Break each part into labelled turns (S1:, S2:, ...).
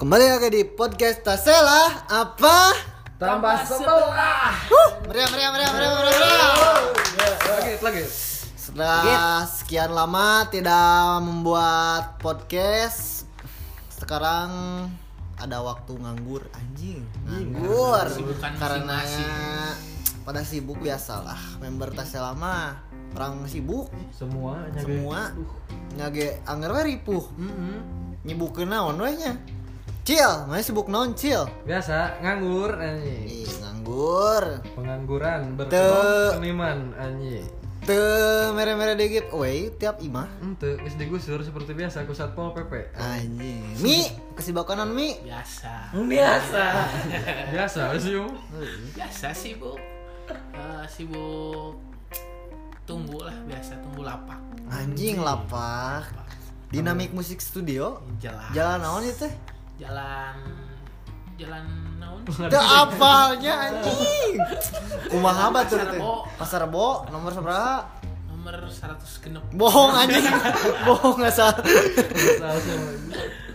S1: Kembali lagi di podcast Tasela apa?
S2: tambah setelah
S1: Meriah meriah meriah meriah meriah. meriah.
S2: lagi lagi
S1: Setelah sekian lama tidak membuat podcast, sekarang ada waktu nganggur anjing.
S2: Iya,
S1: Nganggur karena pada sibuk biasalah member Tasela mah orang sibuk
S2: semua
S1: semua nyage anger we ripuh nyibukeun naon we nya. Cil, mana sibuk naon cil?
S2: biasa nganggur anjing
S1: Ih, nganggur.
S2: pengangguran
S1: Teu.
S2: berkebun seniman anjing
S1: Te mere-mere degit we tiap imah.
S2: ente geus digusur seperti biasa ku satpol pp
S1: Anjing. Mi, kesibukanan Mi.
S3: biasa
S2: biasa biasa sih Yung.
S3: biasa sibuk Eh, sibuk tunggu lah biasa tunggu lapak
S1: Anjing lapak. Dinamik Musik Studio.
S3: jelas
S1: Jalan naon itu?
S3: jalan jalan naon
S1: Teu apalnya anjing. Kumaha batur
S3: Pasar
S1: teh?
S3: Rebo.
S1: Pasar Rebo nomor sabaraha?
S3: nomor 100 genep
S1: Bohong anjing. Bohong asal.
S2: Biasa sih.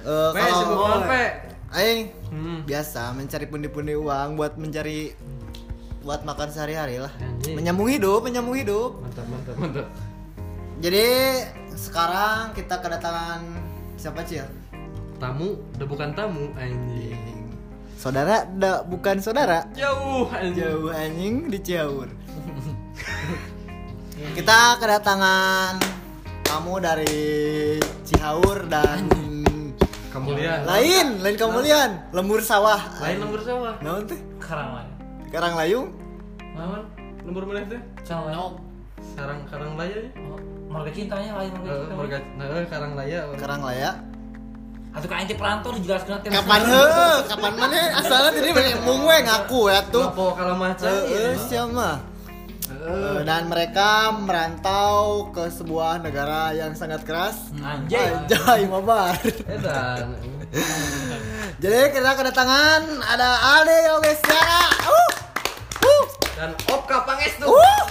S1: Eh
S2: pe sibuk naon pe
S1: aing
S2: Hmm.
S1: biasa mencari pundi-pundi uang buat mencari buat makan sehari-hari lah.
S2: Anjing.
S1: Menyambung hidup, menyambung hidup.
S2: mantap mantap mantap
S1: Jadi sekarang kita kedatangan siapa Cil?
S2: tamu udah bukan tamu anjing
S1: Saudara, da, bukan saudara.
S2: jauh anjing
S1: Jauh anjing di Ciaur. kita kedatangan kamu dari Cihaur dan
S2: kemuliaan
S1: lain, lain kemulian, lembur sawah.
S2: lain nomor sawah
S1: Naon teh?
S4: Karangan.
S1: Karang Layung.
S2: lawan nomor mana teh
S4: Cawai.
S3: no
S2: sarang karang laya ya
S4: Oh, Marga cintanya lain marga
S2: Eh,
S4: cinta.
S2: marga eh, karang laya
S1: Karang Laya.
S4: Atau kan ente perantau dijelaskan nanti.
S1: ya. Kapan heuh? Kapan mana? Asalnya tadi mana mung we ngaku ya tuh.
S2: Lapo kalamacan
S1: Heeh, siapa? Eh, Dan mereka merantau ke sebuah negara yang sangat keras.
S4: Anjay.
S1: Anjay, mabar.
S2: Edan.
S1: Jadi kita kedatangan ada Alde Yogyakarta. Uh, uh,
S2: Dan Opka Pangestu.
S1: uh.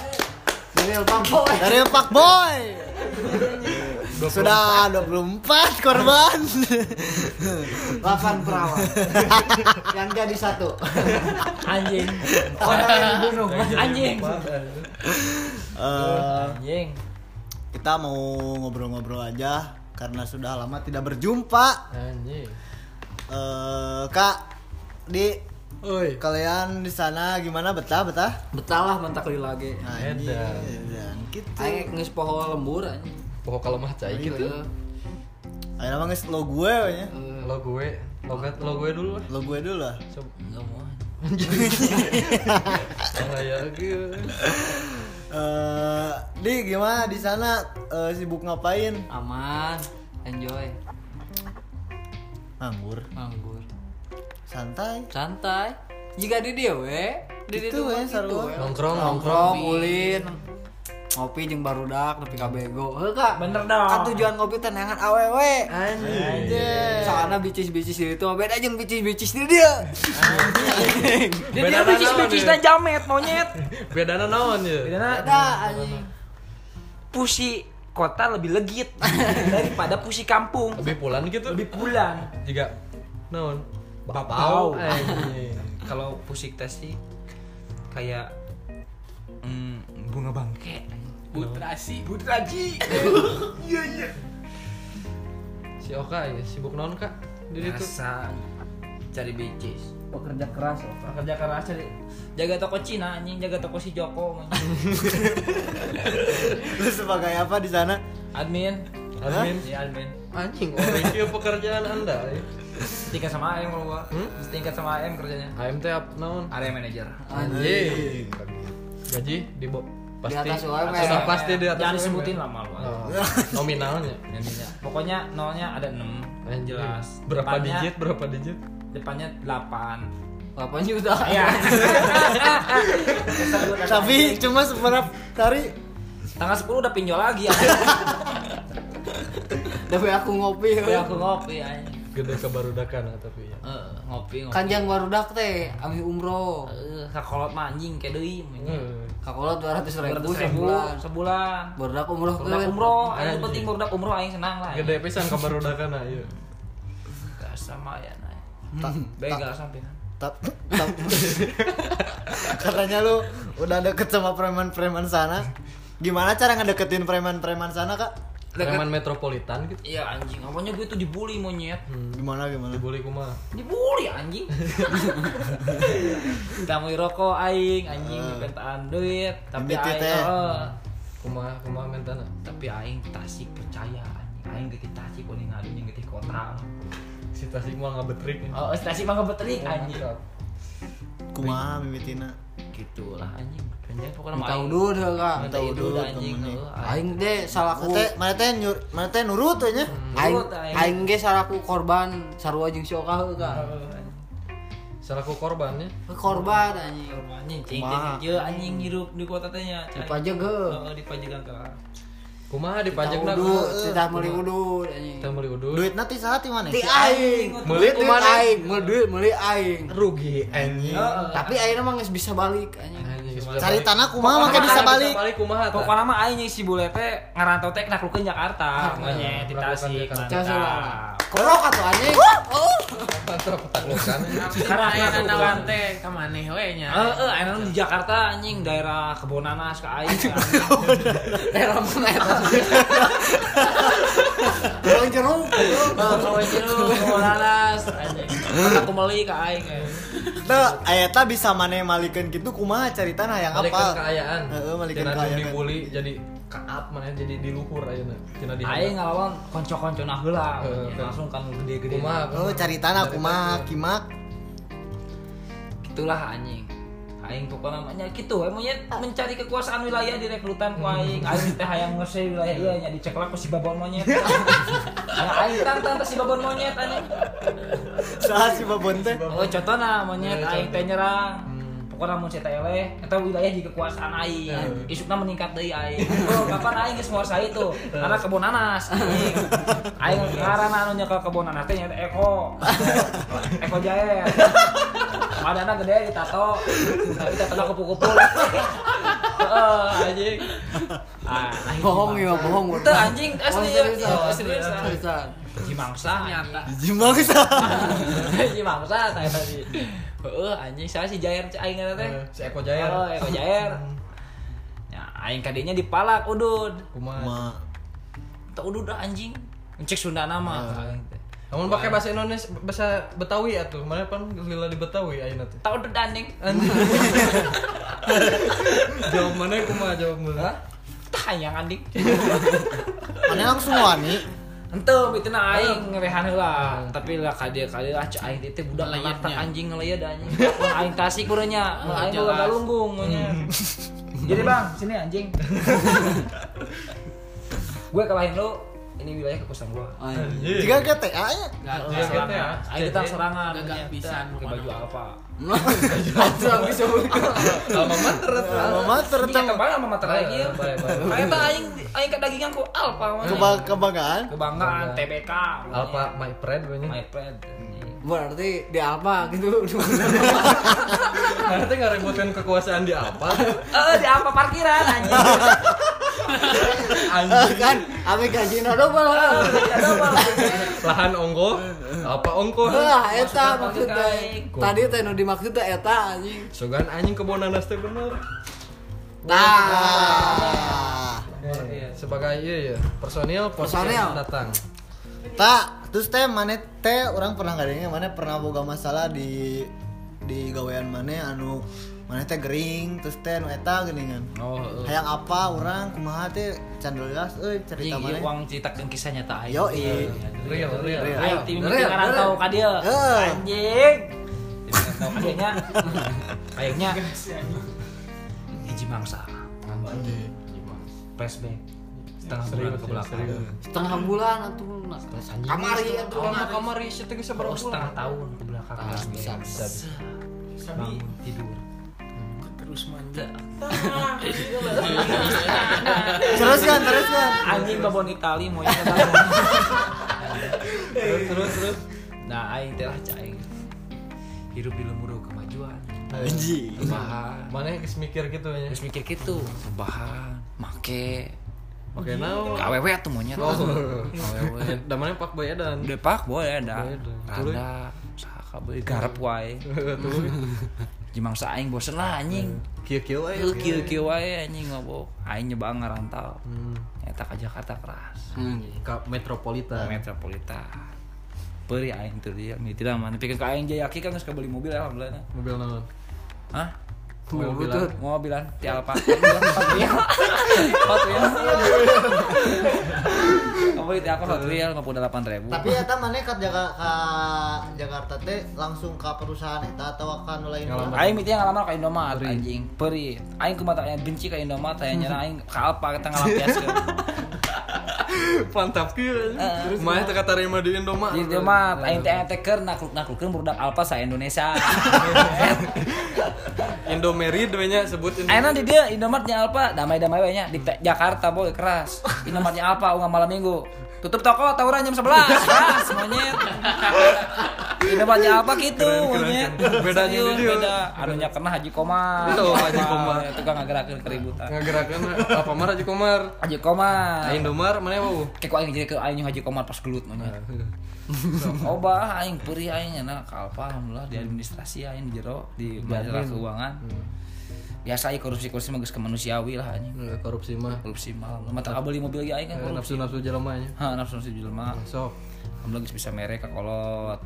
S2: Ini Pak Boy.
S1: Dari Pak Boy. Sudah 24 korban.
S5: 8 perawan yang jadi satu
S4: Anjing.
S5: orang yang dibunuh
S4: Anjing.
S1: Eh,
S4: Anjing.
S1: kita mau ngobrol-ngobrol aja karena sudah lama tidak berjumpa.
S2: Anjing.
S1: Eh, Kak, di
S2: Oi.
S1: kalian di sana gimana betah betah?
S5: betalah mentah kali lagi
S1: Anjing,
S2: Edan.
S1: edan, gitu.
S5: ayo nges poho Eh, lembur aja
S2: Pokok kalemah cai gitu.
S1: Ayo nama nges lo gue we nya.
S2: Lo gue, logat lo gue dulu lah.
S1: Lo gue dulu lah.
S2: Coba
S4: Enggak mau.
S2: kayak gitu.
S1: Eh, di gimana di sana eh, sibuk ngapain?
S4: Aman. Enjoy.
S1: Nganggur,
S4: Anggur.
S1: santai.
S4: Santai. Jika di dia we. Di
S1: Gitu we, sarua.
S2: Nongkrong, nongkrong.
S5: nongkrong ulin ngopi jeung barudak tapi kabego heuh kak
S4: Bener dong.
S5: kan tujuan ngopi teh nangan awewe
S2: Anjing.
S5: soalna Iya. bicis-bicis di itu beda jeung bicis-bicis di dia
S4: Di dia
S2: Bedana
S4: bicis-bicis
S2: naon,
S4: dan jamet monyet.
S2: Bedana naon ya?
S4: Karena
S5: beda anjing
S4: pusi kota lebih legit daripada pusi kampung.
S2: Lebih pulan gitu.
S4: Lebih pulang.
S2: Juga naon?
S4: Bapau.
S2: Anjing.
S6: kalau pusik teh sih kayak mm, bunga bangke
S3: putrasi
S4: Putraji.
S2: Si Oka ya, sibuk naon Kak? Di situ.
S6: biasa cari bicis
S4: Pekerja keras. Pekerja keras. cari- Jaga toko Cina anjing, jaga toko si Joko anjing.
S1: Lu sebagai apa di sana?
S4: admin
S2: Admin.
S4: ya admin
S2: Anjing, oh, itu pekerjaan Anda. ya.
S4: setingkat sama AM kalau gua
S2: Hmm?
S4: setingkat sama AM kerjanya
S2: AMT up naon?
S4: area manager
S5: Iya.
S2: Anjing. Gaji di bo- pasti
S5: atas UMR.
S2: sudah pasti di atas
S4: jangan
S2: UMR.
S4: disebutin lah malu
S2: Oh, nominalnya
S4: Jadinya. pokoknya nolnya ada 6
S2: Anjing.
S4: jelas
S2: berapa
S4: Hmm. Depannya-
S2: digit berapa digit
S4: depannya 8
S5: Bapak juga
S4: ya
S2: Iya.
S1: Tapi cuma seberapa hari
S4: tanggal 10 udah pinjol lagi ya
S5: tapi aku ngopi
S4: Gue
S5: heuh.
S4: aku ngopi anjing
S2: gede kebarudakan ah, tapi ya
S4: Eh, ngopi ngopi
S5: kan jang barudak teh abis umroh
S4: Eh, kakolot mah anjing kayak deui anjing.
S2: Eh,
S5: kakolot 200 ribu
S4: 200.000
S5: sebulan
S4: sebulan
S5: barudak umroh
S4: Barudak
S5: kan.
S4: umroh,
S2: Anjing.
S4: yang penting barudak umroh aing senang lah.
S2: iya. gede pisan kebarudakan ayo
S4: Gak sama ya, nah.
S5: Hmm,
S1: Ta-
S6: begal sampai
S1: ta- ta- katanya lu udah deket sama preman-preman sana gimana cara ngedeketin preman-preman sana kak
S2: Preman metropolitan gitu.
S6: Iya anjing, apanya gue tuh dibully monyet
S1: gimana gimana
S2: Dibully kumaha?
S6: Dibully anjing Tamu rokok aing, anjing pentaan duit Tapi
S1: Duit
S6: aing,
S1: teh.
S6: heeh.
S2: Kumaha kumaha mentana?
S6: tapi aing tasik percaya anjing Aing getih tasik, ini ngadunya getih kota
S2: Si Tasik mah ngabetrik. ya.
S6: Oh, stasi mah kebetulan anjing
S1: kumaha mimitina
S6: Gitulah anjing, banyak pokoknya
S5: Tahu dulu deh kak.
S6: Minta udut anjing
S1: temennya.
S6: heeh, aing.
S5: Aing deh salahku.
S1: Mana teh- mana teh nyur- mana teh nurut we nya
S5: Aing
S6: Nurut, aing. Eh,
S5: aing ge salahku korban sarua jeung si Oka heuh, kak.
S2: Selaku korbannya.
S5: Korban anjing.
S6: Anjing, cing,
S1: Kumaha?
S6: cing, cing, anjing hirup di kota Oh, tanya.
S5: Dipajak heuh.
S6: di pajegan kak.
S2: Kumaha dipajak
S5: Tahu
S2: dah
S5: dulu,
S2: kumaha?
S5: tidak meuli udut anjing.
S2: Kita beli udut.
S1: duit nanti saat mana
S5: Di aing.
S2: Meuli
S5: duit
S2: kumaha?
S5: aing, meuli duit, meuli aing.
S2: Rugi anjing.
S5: Tapi akhirnya mah geus bisa balik anjing.
S2: Anjing,
S1: cari
S2: balik.
S1: tanah kumaha make bisa balik
S2: Bisa balik kumaha tah?
S6: Pokoknya mah aing yang si bule teh ngarantau teh nak lukeun
S2: Ah,
S6: Jakarta, makanya di
S2: Ngelakukan
S6: Tasik.
S2: Jakarta.
S6: Mantap.
S5: Korok atuh anjing.
S2: Mantap taklukan.
S6: Karena
S3: Karena
S6: aku-
S3: nawan teh ka maneh eh, we nya.
S6: Heeh, aing mah di Jakarta anjing daerah Kebonanas ka aing. ka anjing.
S5: Era mana eta? Dorong jeruk.
S6: Oh, Kawan jeruk, Kebonanas anjing. Aku meli ka aing. eh.
S1: Tuh, ayata bisa mana malikeun gitu kumaha cari tanah yang
S2: Malikan
S1: apal
S2: keayaan.
S1: Heeh, malikan
S2: Cenah
S1: keayaan.
S2: dibully jadi kaat mana jadi diluhur ayeuna. Cenah di.
S6: Aing ngalawan konco-konco nah heula.
S2: Heeh.
S6: Langsung kan gede-gede.
S2: kumaha?
S1: oh cari tanah kumaha kimak
S6: Itulah anjing. Aing pokoknya namanya gitu, emangnya mencari kekuasaan wilayah di rekrutan ku aing. Aing teh hayang ngeuseui wilayah ieu nya diceklak ku si babon monyet. Ya aing tantang teh si babon monyet anjing.
S1: saat si babon teh
S6: Oh, contohna monyet aing teh nyerang. Pokoknya mun saya teh eleh eta wilayah di kekuasaan aing. Isukna meningkat deui aing. Oh, kapan aing geus nguasai tuh? Karena kebun nanas anjing. Aing ngaranna anu nyekel kebun nanas teh nya teh Eko. Eko Jael. Madana gede ditato. Tapi tatonya kupu-kupu. Heeh, anjing. Ah, aing
S5: Bohong ya,
S6: jimangsa.
S5: bohong.
S6: Teu anjing
S5: Oh,
S6: asli.
S5: seriusan,
S6: iya, Serius. ah.
S5: seriusan.
S6: Jimangsa nyata.
S1: jimak
S6: Hiji mangsa tanya tadi. Heeh anjing saya si Jair si aing eta teh.
S2: Eh, Si Eko Jair.
S6: Oh, Eko Jair. Ya aing kadinya dipalak udud.
S2: Kumaha?
S1: kumaha
S6: Teu udud dah, anjing. Cek Sunda nama aing teh.
S2: Namun pakai bahasa Indonesia, bahasa Betawi atuh. Mana pan lila di Betawi ayeuna teh.
S6: Tau udud anjing.
S2: Jawab mana kumaha jawab mana?
S6: Tah hayang anjing.
S1: mana langsung wani
S6: Henteu bituna aing ngerehan heula. Tapi lah kadia kadia ah cai aing teh budak
S3: Ngelayatnya.
S6: lantak anjing ngeleud anjing. Mun Aing tasik urenya, mun
S3: Oh,
S6: aing
S3: jelas.
S6: boga galunggung nya. Jadi Bang, sini anjing. Gue kalahin lu, ini wilayah kekuasaan gua.
S5: Anjing.
S1: jika GTA nya
S3: Enggak
S2: Iya, gitu ya.
S6: Ayo kita serangan.
S3: Gagak
S6: ternyata.
S3: pisan,
S6: Pakai baju apa?
S5: Langsung habis buka.
S2: Alma mater atuh.
S1: Alma mater
S6: Ini
S1: teh
S6: kata bang sama mata lagi ya.
S2: Bae, bae.
S6: Ternyata aing aing ke dagingan ku alpa. mana.
S1: Keba- kebanggaan
S6: Kebanggaan TBK.
S2: Alpha my friend
S6: My
S2: banyak.
S6: friend. Ini.
S5: Berarti di apa gitu.
S2: Nanti nggak rebutin kekuasaan di apa?
S6: Eh di apa parkiran anjing.
S5: kan ame gaji nodo
S6: Eh,
S5: bae.
S6: di apa, Bang?
S2: Lahan ongko, apa ongko?
S5: Hah, eta
S6: maksud
S5: maksudnya.
S6: aing.
S5: Tadi teh nu dimaksud teh eta anjing.
S2: Sogan anjing kebonanas teh bener.
S5: Nah.
S2: Eh, Sebagai iya ya, personil podcast
S5: Personil.
S2: datang.
S1: tak terus teh mana teh orang pernah ngadengnya mana pernah boga masalah di di gawean mana anu mana teh gering terus teh nu eta geuningan
S6: Oh,
S1: hayang apa orang kumaha teh candelas euy
S6: Ini
S1: cerita mana
S6: uang ceritakan kisah nyata aing.
S1: yo i
S2: Real, real.
S1: Real. Eh.
S6: Aing Eh, tim
S5: Real,
S6: tim
S5: real.
S6: ngarantau ka dieu.
S1: Heeh.
S6: Anjing. Tim ngarantau ka dieu nya. Kayaknya hiji mangsa. Flashback. Setengah bulan ke belakang.
S5: Setengah
S6: Ah.
S5: bulan atuh. nah. Kamari atuh.
S6: Kamar kamar isi teh bisa berapa Oh, setengah tahun ke belakang.
S5: bisa,
S6: bisa. Bisa bangun tidur. Terus manja.
S1: teruskan teruskan
S6: Anjing babon Itali mau bangun.
S2: Terus terus terus.
S6: Nah, aing teh lah caing. Hidup di lemuru kemajuan.
S1: anjing
S6: Bahan.
S2: Mana yang mikir gitu ya?
S6: Terus mikir gitu, bahan, make,
S2: Oke, now.
S6: KWW tuh monyet.
S2: Oh,
S6: KWW.
S2: damanya Pak Boyadan.
S6: Depak boleh ada.
S2: Boy ada.
S6: Randa, saha kabeh garap wae. Jimang saing bosen lah anjing.
S2: Kieu-kieu wae.
S6: Lu kieu-kieu wae anjing ngobok. Aing nyoba ngarantau. Eta ka Jakarta keras.
S2: Hmm. Ka metropolitan.
S6: Metropolitan. Peri aing tuh dia, nih tidak mana. Pikir ka aing jayaki kan geus kabeli mobil alhamdulillah.
S2: Mobil naon?
S6: Hah?
S2: Mobil butut.
S6: Mobilan ti Alfa. Hot Wheel. Hot Wheel. Kamu di Alfa Hot Wheel 58.000.
S1: tapi eta mana ke Jakarta ka Jakarta teh langsung ke perusahaan eta atau ka nu lain
S2: Ngalamar.
S6: Aing mitinya ngalamar ke Indomaret anjing, peri. Aing kumaha tanya benci ke Indomaret, tanya nyerah aing ke Alpa kita ngalampiaskeun.
S2: "Eh, Mantap kieu. Mana teu katarima di Indomaret.
S6: Eh. Di Indomaret aing teh teh keur nakluk-naklukeun budak Alpa sa Indonesia.
S2: Indomerid we nya sebut
S6: Ayeuna di dia Indomaretnya Alpa damai-damai we nya di Te- Jakarta boleh keras. Indomaretnya Alpa unggah malam Minggu. Tutup toko tawuran jam 11. Keras monyet. Indomaretnya Alpa gitu monyet.
S2: keren. Bedanya
S6: Serius,
S2: di dia.
S6: beda. Anunya kena Haji Komar.
S2: Tuh, Haji Komar.
S6: Tukang ngagerakeun keributan.
S2: ngagerakeun apa marah Haji Komar.
S6: Haji Komar.
S2: Nah, Indomar mana wau?
S6: Kayak kok aing jadi ke aing haji komar pas gelut
S2: Ah.
S6: mah. Obah aing perih aing enak kalpa alhamdulillah di administrasi aing di jero di badan keuangan.
S2: Hmm.
S6: Biasa aing korupsi-korupsi mah geus kemanusiawi lah anjing.
S2: Eh, Korupsi mah. Eh,
S6: Korupsi mah alhamdulillah mata beli mobil ge
S1: Eh,
S6: aing kan korupsi.
S2: Nafsu-nafsu jelema nya.
S6: Ha nafsu nafsu jelema.
S2: Sok.
S6: Alhamdulillah geus bisa mere ka kolot.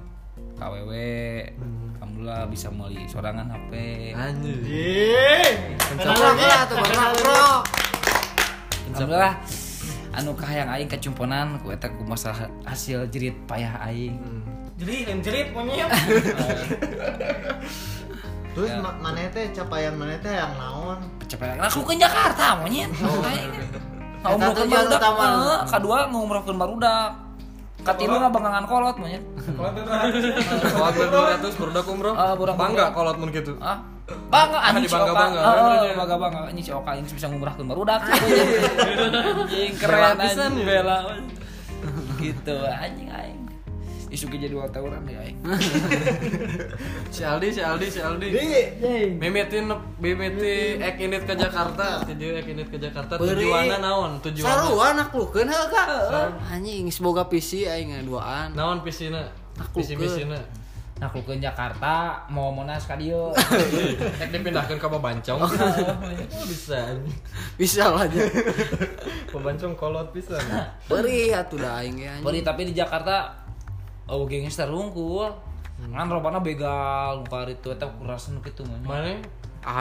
S6: KWW,
S1: Hmm.
S6: alhamdulillah bisa meuli sorangan HP.
S2: Anjir.
S1: Kenapa ya tuh baru bro?
S6: Alhamdulillah anu kahayang aing kacumponan ku eta ku masalah hasil jerit payah aing.
S4: Jadi yang jerit monyet.
S1: Terus ma- mana teh capaian mana teh yang naon?
S6: cepet lah ke Jakarta monyet ngomongkan
S1: Oh. Eta tujuan
S6: barudak
S1: utama.
S6: eh, kedua ngomongkan barudak katilu nggak bengangan kolot monyet
S2: Kolot 200 produk umroh.
S6: Ah, budak
S2: Bangga
S6: umroh.
S2: kolot mun gitu. kitu.
S6: ah bangga
S2: Ah,
S6: anjing si Oka
S2: dibangga-bangga.
S6: Eh, bangga-bangga anjing si Oka ini bisa ngumrahkan barudak anjing keren anjing bela gitu anjing aing isu ge jadi wartawan deh aing
S2: Si Aldi, si Aldi, si Aldi. Mimiti mimiti ek init ke Jakarta, tujuh ek init ke Jakarta.
S5: Beri.
S2: Tujuanna naon? Tujuanna.
S5: Sarua naklukeun heuh ka. Anjing semoga PC aing duaan.
S2: Naon pisina?
S5: Aku
S2: Visi
S5: ke.
S2: misina.
S6: nah ku ke Jakarta mau monas ka dieu
S2: Tek dipindahkeun ka Babancong. Oh, bisa.
S5: Bisa lah aja.
S2: Babancong kolot bisa.
S5: Perih atuh da aing ge anjing.
S6: Bari tapi di Jakarta oh gengnya terungkul. Kan robana begal, muka itu eta kurasan gitu monyet.
S2: Mana?
S1: Mana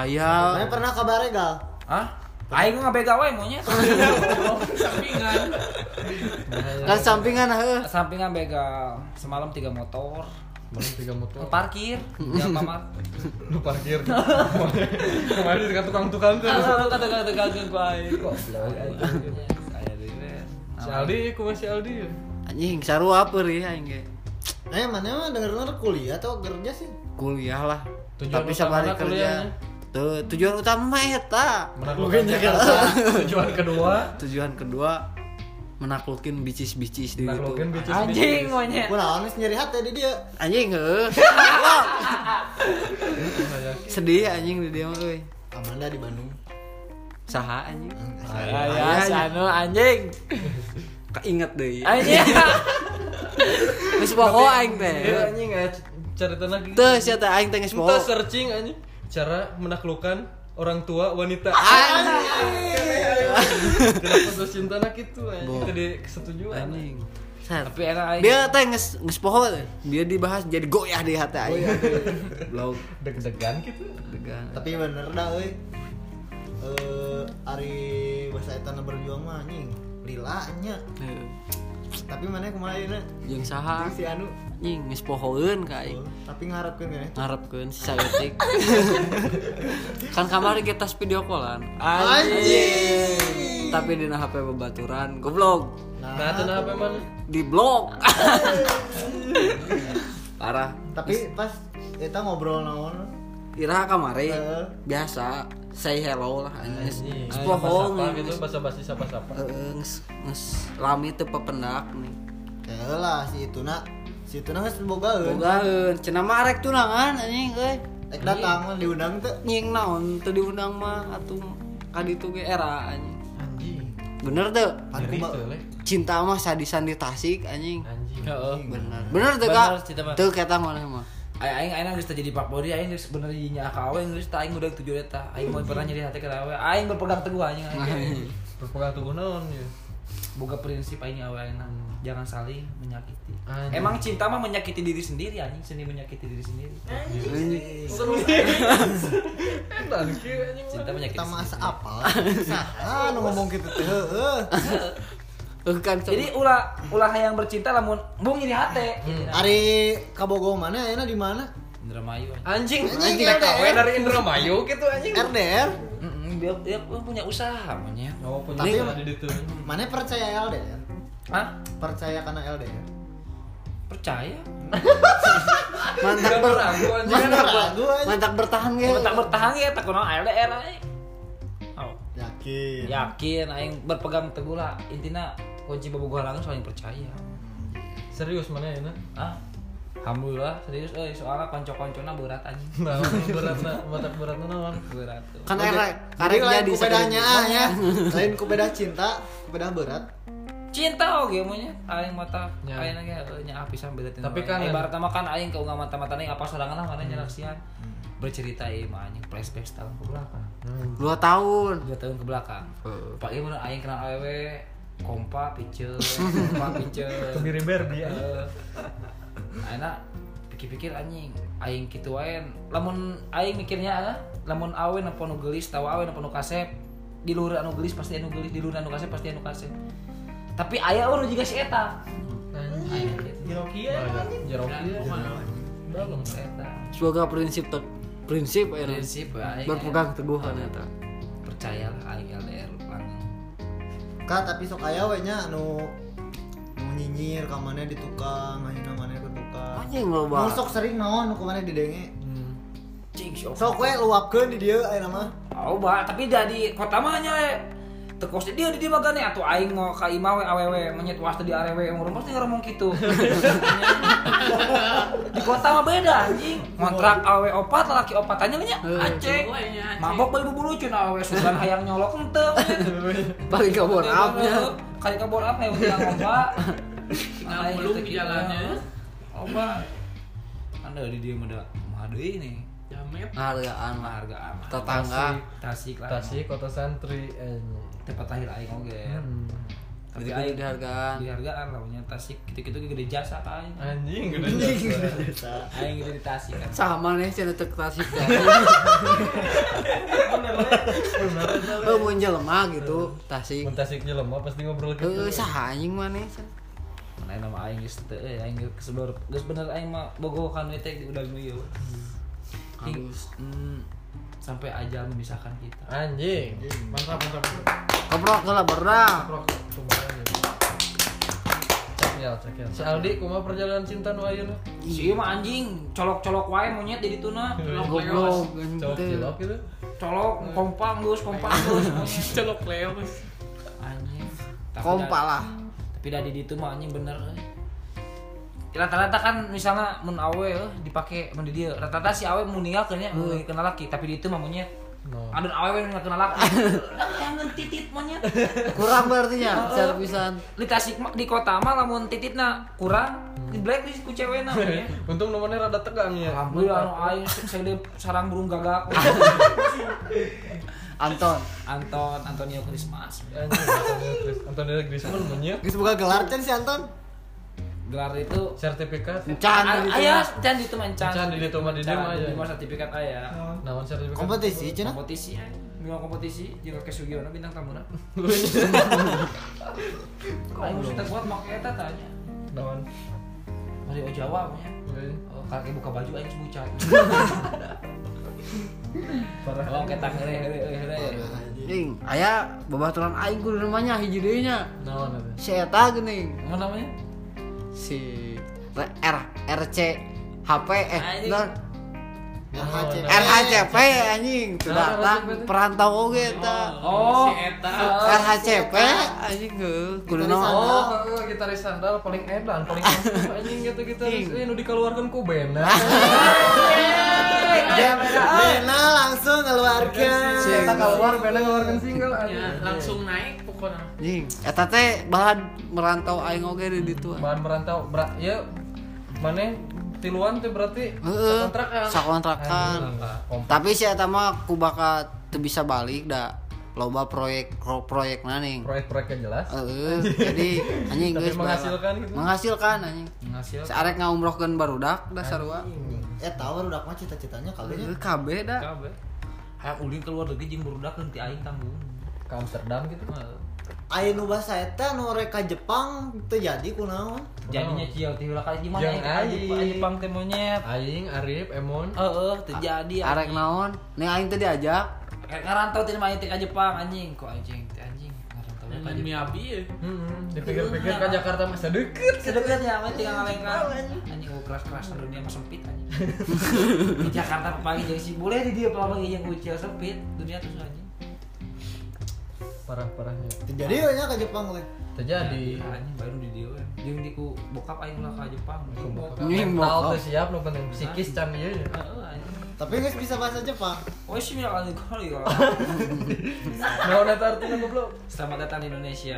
S5: Aya
S1: pernah ke Baregal?
S6: Hah? Aing nggak begal wae monyet.
S5: kan sampingan heuh.
S6: Sampingan begal. Semalam tiga motor.
S2: Mana tiga motor.
S6: Parkir di Alfamart.
S2: lu parkir kemarin dekat tukang tukang tuh
S6: Kata-kata wae. Goblok anjing. Aya deui we.
S2: si Aldi ku si Aldi
S5: Anjing sarua perih aing ge.
S1: Eh mana mah denger denger kuliah atau kerja sih?
S5: Kuliah lah.
S2: Tujuan
S5: Tapi sabari
S2: utamana
S5: kerja.
S2: kuliahnya?
S5: Tuh, tujuan utama mah eta.
S2: menaklukkan Jakarta tujuan kedua
S5: Tujuan kedua menaklukin bicis-bicis di gitu.
S2: menaklukkan bisnis
S6: Anjing monyet.
S1: Gue naon geus nyeri hati di dia.
S5: Anjing eh. heuh. Sedih anjing di dia mah euy.
S1: Amanda di Bandung.
S5: Saha anjing?
S6: Aya sanu anjing.
S5: Keinget deui.
S6: Anjing.
S5: Wis boho aing
S2: Ya,
S5: teh.
S2: anjing eh, cerita lagi
S5: Teu sia teh aing teh geus
S2: kita
S5: boho.
S2: searching anjing cara menaklukkan orang tua wanita kenapa tuh cinta nak itu anjing tadi kesetujuan
S5: Anjing. Sat.
S6: Tapi enak aing.
S5: Dia teh geus geus poho teh. Dia dibahas jadi goyah di hati aing. Blog
S2: deg-degan gitu
S5: degan.
S1: Tapi bener dah euy. Eh ari bahasa eta na berjuang mah anjing. Lila nya.
S5: Heuh.
S1: Tapi mana kumaha ieu na?
S5: Jeung saha?
S1: Si anu.
S5: Anjing geus pohoeun ka aing.
S1: Oh, Tapi ngarepkeun ya.
S5: Ngarepkeun si saeutik. kan kamari kita video callan.
S1: Anjing.
S5: Tapi dina HP babaturan goblok.
S2: nah itu nah apa mana
S5: Di blog. Parah.
S1: Tapi pas eta ngobrol naon? eh,
S5: Ira kamari
S1: Heeh.
S5: biasa say hello lah anjing. Geus poho
S2: sapa gitu bahasa basi sapa sapa
S5: Heeh, nges, nges lami teu pependak nih.
S1: Teu lah si ituna. Si ituna geus boga euy.
S5: Bogaeun, cenah mah arek tunangan anjing euy.
S1: Ek datang diundang teu.
S5: Nying naon teu diundang mah atuh ka ditu ge era anjing. Bener teu?
S1: Aku mah
S5: Cinta
S2: Eh,
S5: mah sadisan di Tasik anjing.
S2: anjing
S5: Bener teu
S6: Bener,
S5: ka?
S6: cinta mah.
S5: Teu kata mana mah.
S6: aing aing geus teu jadi Pak Polri aing geus bener nya ka awe geus tah aing udah tujuh eta. Aing mau pernah nyeri hati ka awe. Aing berpegang teguh anjing aing.
S2: Berpegang teguh naon ya.
S6: Boga prinsip aing awe aing jangan saling menyakiti.
S2: Anjing.
S6: Emang cinta mah menyakiti diri sendiri anjing, seni menyakiti diri sendiri.
S2: Edan kieu anjing.
S6: Cinta menyakiti.
S1: kita masa
S6: sendiri.
S1: apa ah nu ngomong gitu teh heuh.
S5: Eh, kan coba.
S6: Jadi ulah ulah yang bercinta lamun bung nyeri hati.
S2: Hmm.
S1: ari kabogo mana enak di mana
S6: Indramayu anjing.
S2: Anjing,
S1: Anjing,
S2: anjing kawe
S1: LDR.
S2: dari Indramayu gitu anjing.
S1: RDR
S6: Mm-mm, dia, dia pun punya usaha namanya.
S2: Oh, punya
S1: Tapi-
S2: ada di ditu.
S1: mana percaya LDR
S6: Hah?
S1: percaya karena LDR
S6: Percaya?
S5: mantap
S2: Gak
S5: ber
S2: ragu anjing.
S5: mantap
S1: Gak ragu,
S5: ber-
S1: anjing.
S5: mantap bertahan ya
S6: Bertahan bertahan ya tak kenal LDR aja. Oh,
S1: yakin
S6: yakin aing berpegang teguh lah intinya kunci bobogoh halangan soalnya percaya.
S2: Serius mana ya?
S6: Ah. Alhamdulillah serius euy soalnya kanca-kancana berat aja.
S2: Nah, berat na, mata berat na naon?
S6: Berat. tuh.
S5: kan erek
S1: Jadi
S5: karek
S1: lain
S5: jadi
S1: kupedanya ah, ya lain kupeda cinta kupeda berat
S6: Cinta oge mun nya aing mata
S2: Ya.
S6: aing ge euy, nya apisan beda tina
S2: Tapi
S6: orang.
S2: kan- Hmm.
S6: ibaratna mah kan aing keunggah mata-mata aing apa sorangan lah mana nya laksian. Bercerita ieu mah anjing flashback setahun ke belakang.
S5: dua tahun
S2: Hmm.
S6: dua tahun ke belakang. Pak ieu mun aing kenal awewe kompa piceun, kompa piceun.
S2: Kebiri Barbie anjing.
S6: Aina Eh, pikir-pikir anjing aing kitu wae lamun aing mikirnya ah, lamun awe napa nu geulis tawa awe napa nu kasep di luhur anu geulis pasti anu geulis di luhur anu kasep pasti anu kasep tapi aya urang juga si eta
S2: Anjing.
S6: Aya kitu.
S2: Jerokia anjing. Jerokia.
S6: Belum si eta
S5: semoga prinsip te- prinsip ya
S6: prinsip aing eh,
S5: berpegang teguh kan eta
S6: percayalah aing LDR langgeng
S1: Kak tapi sok aya we nya anu nu nyinyir ka mana di tukang, ngahina mana ke tukang.
S5: anjing
S1: Nu
S5: loba
S1: sok sering naon nu ku mana didenge.
S6: cing si
S1: Sok we luapkeun di dieu aya mah.
S6: Oba, tapi dari kota mah nya le. Tekos dia di dia magane atuh aing mau eh, ka imah we awewe menyet was teu di arewe ngurung pasti ngomong kitu. di kota mah beda anjing. Kontrak awe opat laki opatannya nya acek. Mabok bae bubulu cun awe sugan hayang nyolok henteu.
S5: paling kabur apnya
S6: Kali kabur apa yang dia ngoba.
S3: Tinggal peluk di jalannya.
S6: gitu. Oba. Anda di dia mah ada mah deui nih.
S3: jamet
S5: hargaan lah
S6: Hargaan mah.
S5: tetangga
S6: Tasik lah.
S2: Tasik kota santri anjing.
S6: tempat terakhir aing oge.
S2: Hmm.
S6: Tapi
S5: Gede-gede
S6: aing
S5: dihargaan.
S6: dihargaan lah punya Tasik gitu-gitu ge gede jasa kan.
S2: Anjing gede jasa.
S6: Aing gitu di Tasik kan.
S5: sama nih cina teu klasik teh Eh, mun jelema gitu tasik
S2: Mun Tasik jelema pasti ngobrol gitu.
S5: eh saha anjing mah nih Cen?
S6: Mun aing nama aing geus teu euy, aing geus kesebar. Geus bener aing mah bogoh kan teh di udah nu ieu. Halus. sampai ajal memisahkan kita.
S2: Anjing. Mantap mantap.
S5: koprok lah berdak
S2: Prok kumaha anjing. Cakil, cakil. Si Aldi kumaha perjalanan cinta nu ayeuna?
S6: Si ieu mah anjing, colok-colok wae monyet di ditu na.
S5: Hmm. goblok anjing
S2: Cowok
S5: teh.
S2: cilok gitu.
S6: Colok kompang geus, kompang geus.
S3: celok leos
S6: Anjing. Tapi
S5: kompa
S6: da-
S5: lah
S6: tapi dari itu mah anjing bener euy. rata-rata kan misalnya mun awe eh, dipake mun di dieu rata-rata si awe mun ninggal kayaknya mun
S2: Hmm.
S6: kenal laki tapi di itu mah monyet
S2: No.
S6: Aduh awe we nggak kenal laki kangen titit monyet
S5: kurang berartinya secara pisan
S6: di tasik mah di kota mah lamun tititna kurang
S2: Hmm.
S6: di blacklist ku cewekna monyet
S2: Untung nomornya rada tegang ya.
S6: Alhamdulillah anu aing saya sarang burung gagak.
S5: Anton
S6: Anton Antonio Christmas.
S2: Anjing, Antonio Chris- Antonio Griezmann menye
S1: Geus buka gelar kan si Anton.
S6: Gelar itu
S2: sertifikat.
S5: can gitu
S6: ayah dan itu mancan.
S2: Can di ditu mah di dieu mah Oh. aya.
S6: sertifikat ayah.
S2: Naon sertifikat?
S1: Kompetisi ah? cenah.
S6: kompetisi
S2: eh.
S6: aja Bintang kompetisi jeung ke Sugiono bintang tamuna. Aing mesti teu kuat make eta tanya.
S2: Naon?
S6: Mari o Jawa nya.
S2: Euy,
S6: Oh, kakek buka baju aing cemucat.
S2: Parah.
S6: Oh, kita heure heure heure.
S5: Ning, aya babaturan aing ku di rumahnya hiji deui nya.
S2: Naon eta?
S5: Si eta geuning,
S6: Apa namanya?
S5: si R- R RC HP eh
S6: Anjing. Eh.
S5: non
S1: RHC.
S2: Oh,
S5: RHCP anjing tuh datang perantau oge eta.
S6: Oh,
S3: si eta
S5: RHCP anjing heuh kudu naon?
S2: Oh, heeh, gitaris sandal paling edan, paling asli anjing gitu gitaris. Eh, nu dikeluarkan ku band.
S1: Bena langsung ngeluarkeun.
S5: Si
S2: Kita keluar, band ngeluarkan single
S3: ya
S2: anjing.
S3: langsung naik pokoknya
S5: anjing eta teh bahan merantau aing oge di ditu.
S2: Bahan merantau, bra, ya mana tiluan teh berarti
S5: Heeh.
S2: kontrakan. Nah, oh,
S5: Sakontrakan. Tapi si eta mah ku bakal teu bisa balik da loba proyek pro- proyek naning.
S2: Proyek-proyeknya jelas.
S5: Heeh. Jadi anjing
S2: Tapi
S5: geus bae.
S2: menghasilkan gitu.
S5: Menghasilkan anjing.
S2: Hasil.
S5: Searek ngaumrohkeun barudak da sarua.
S1: eh tahu udah mah cita-citanya kali
S5: Heeh, kabeh da.
S6: Kabeh. Hayang ulin keluar lagi jeung burudak teu aing tanggung.
S2: Ke Amsterdam gitu.
S1: Ayo nu bahasa eta nu rek ka Jepang teu jadi kunaon
S6: Jadinya cieu teh ulah kali gimana
S2: Jeung
S6: aing ka
S2: aing.
S6: Jepang- Jepang teh monyet.
S2: Aing, Arif, Emon.
S6: Heeh, teu jadi.
S5: Arek naon? Nih aing teh diajak.
S6: Kayak ngarantau teh main teh ka Jepang anjing, kok anjing teh anjing. Ngarantau ka
S3: Dengan
S6: Jepang.
S3: Miyabi ya.
S2: Hmm, dipikir-pikir ke Jakarta masa deket.
S6: Sedekatnya amat tinggal ngalengkan. Anjing gue keras-keras dunia mah sempit anjing. Di Jakarta pagi jadi sih boleh di dia pagi yang ucil sempit dunia tuh anjing.
S2: Parah-parahnya.
S1: teu jadi we nya ka Jepang we
S2: Terjadi.
S6: anjing baru di dia. we. Jeung di ku bokap aing ulah ka Jepang.
S5: Nying,
S2: Mental
S5: bokap.
S2: tuh siap lu penting psikis can ieu ya.
S6: Heeh anjing.
S1: tapi geus bisa bahasa Jepang
S6: Oh sih minyak kali kali ya.
S2: Naon eta
S6: kan
S2: artinya goblok?
S6: Selamat datang di Indonesia.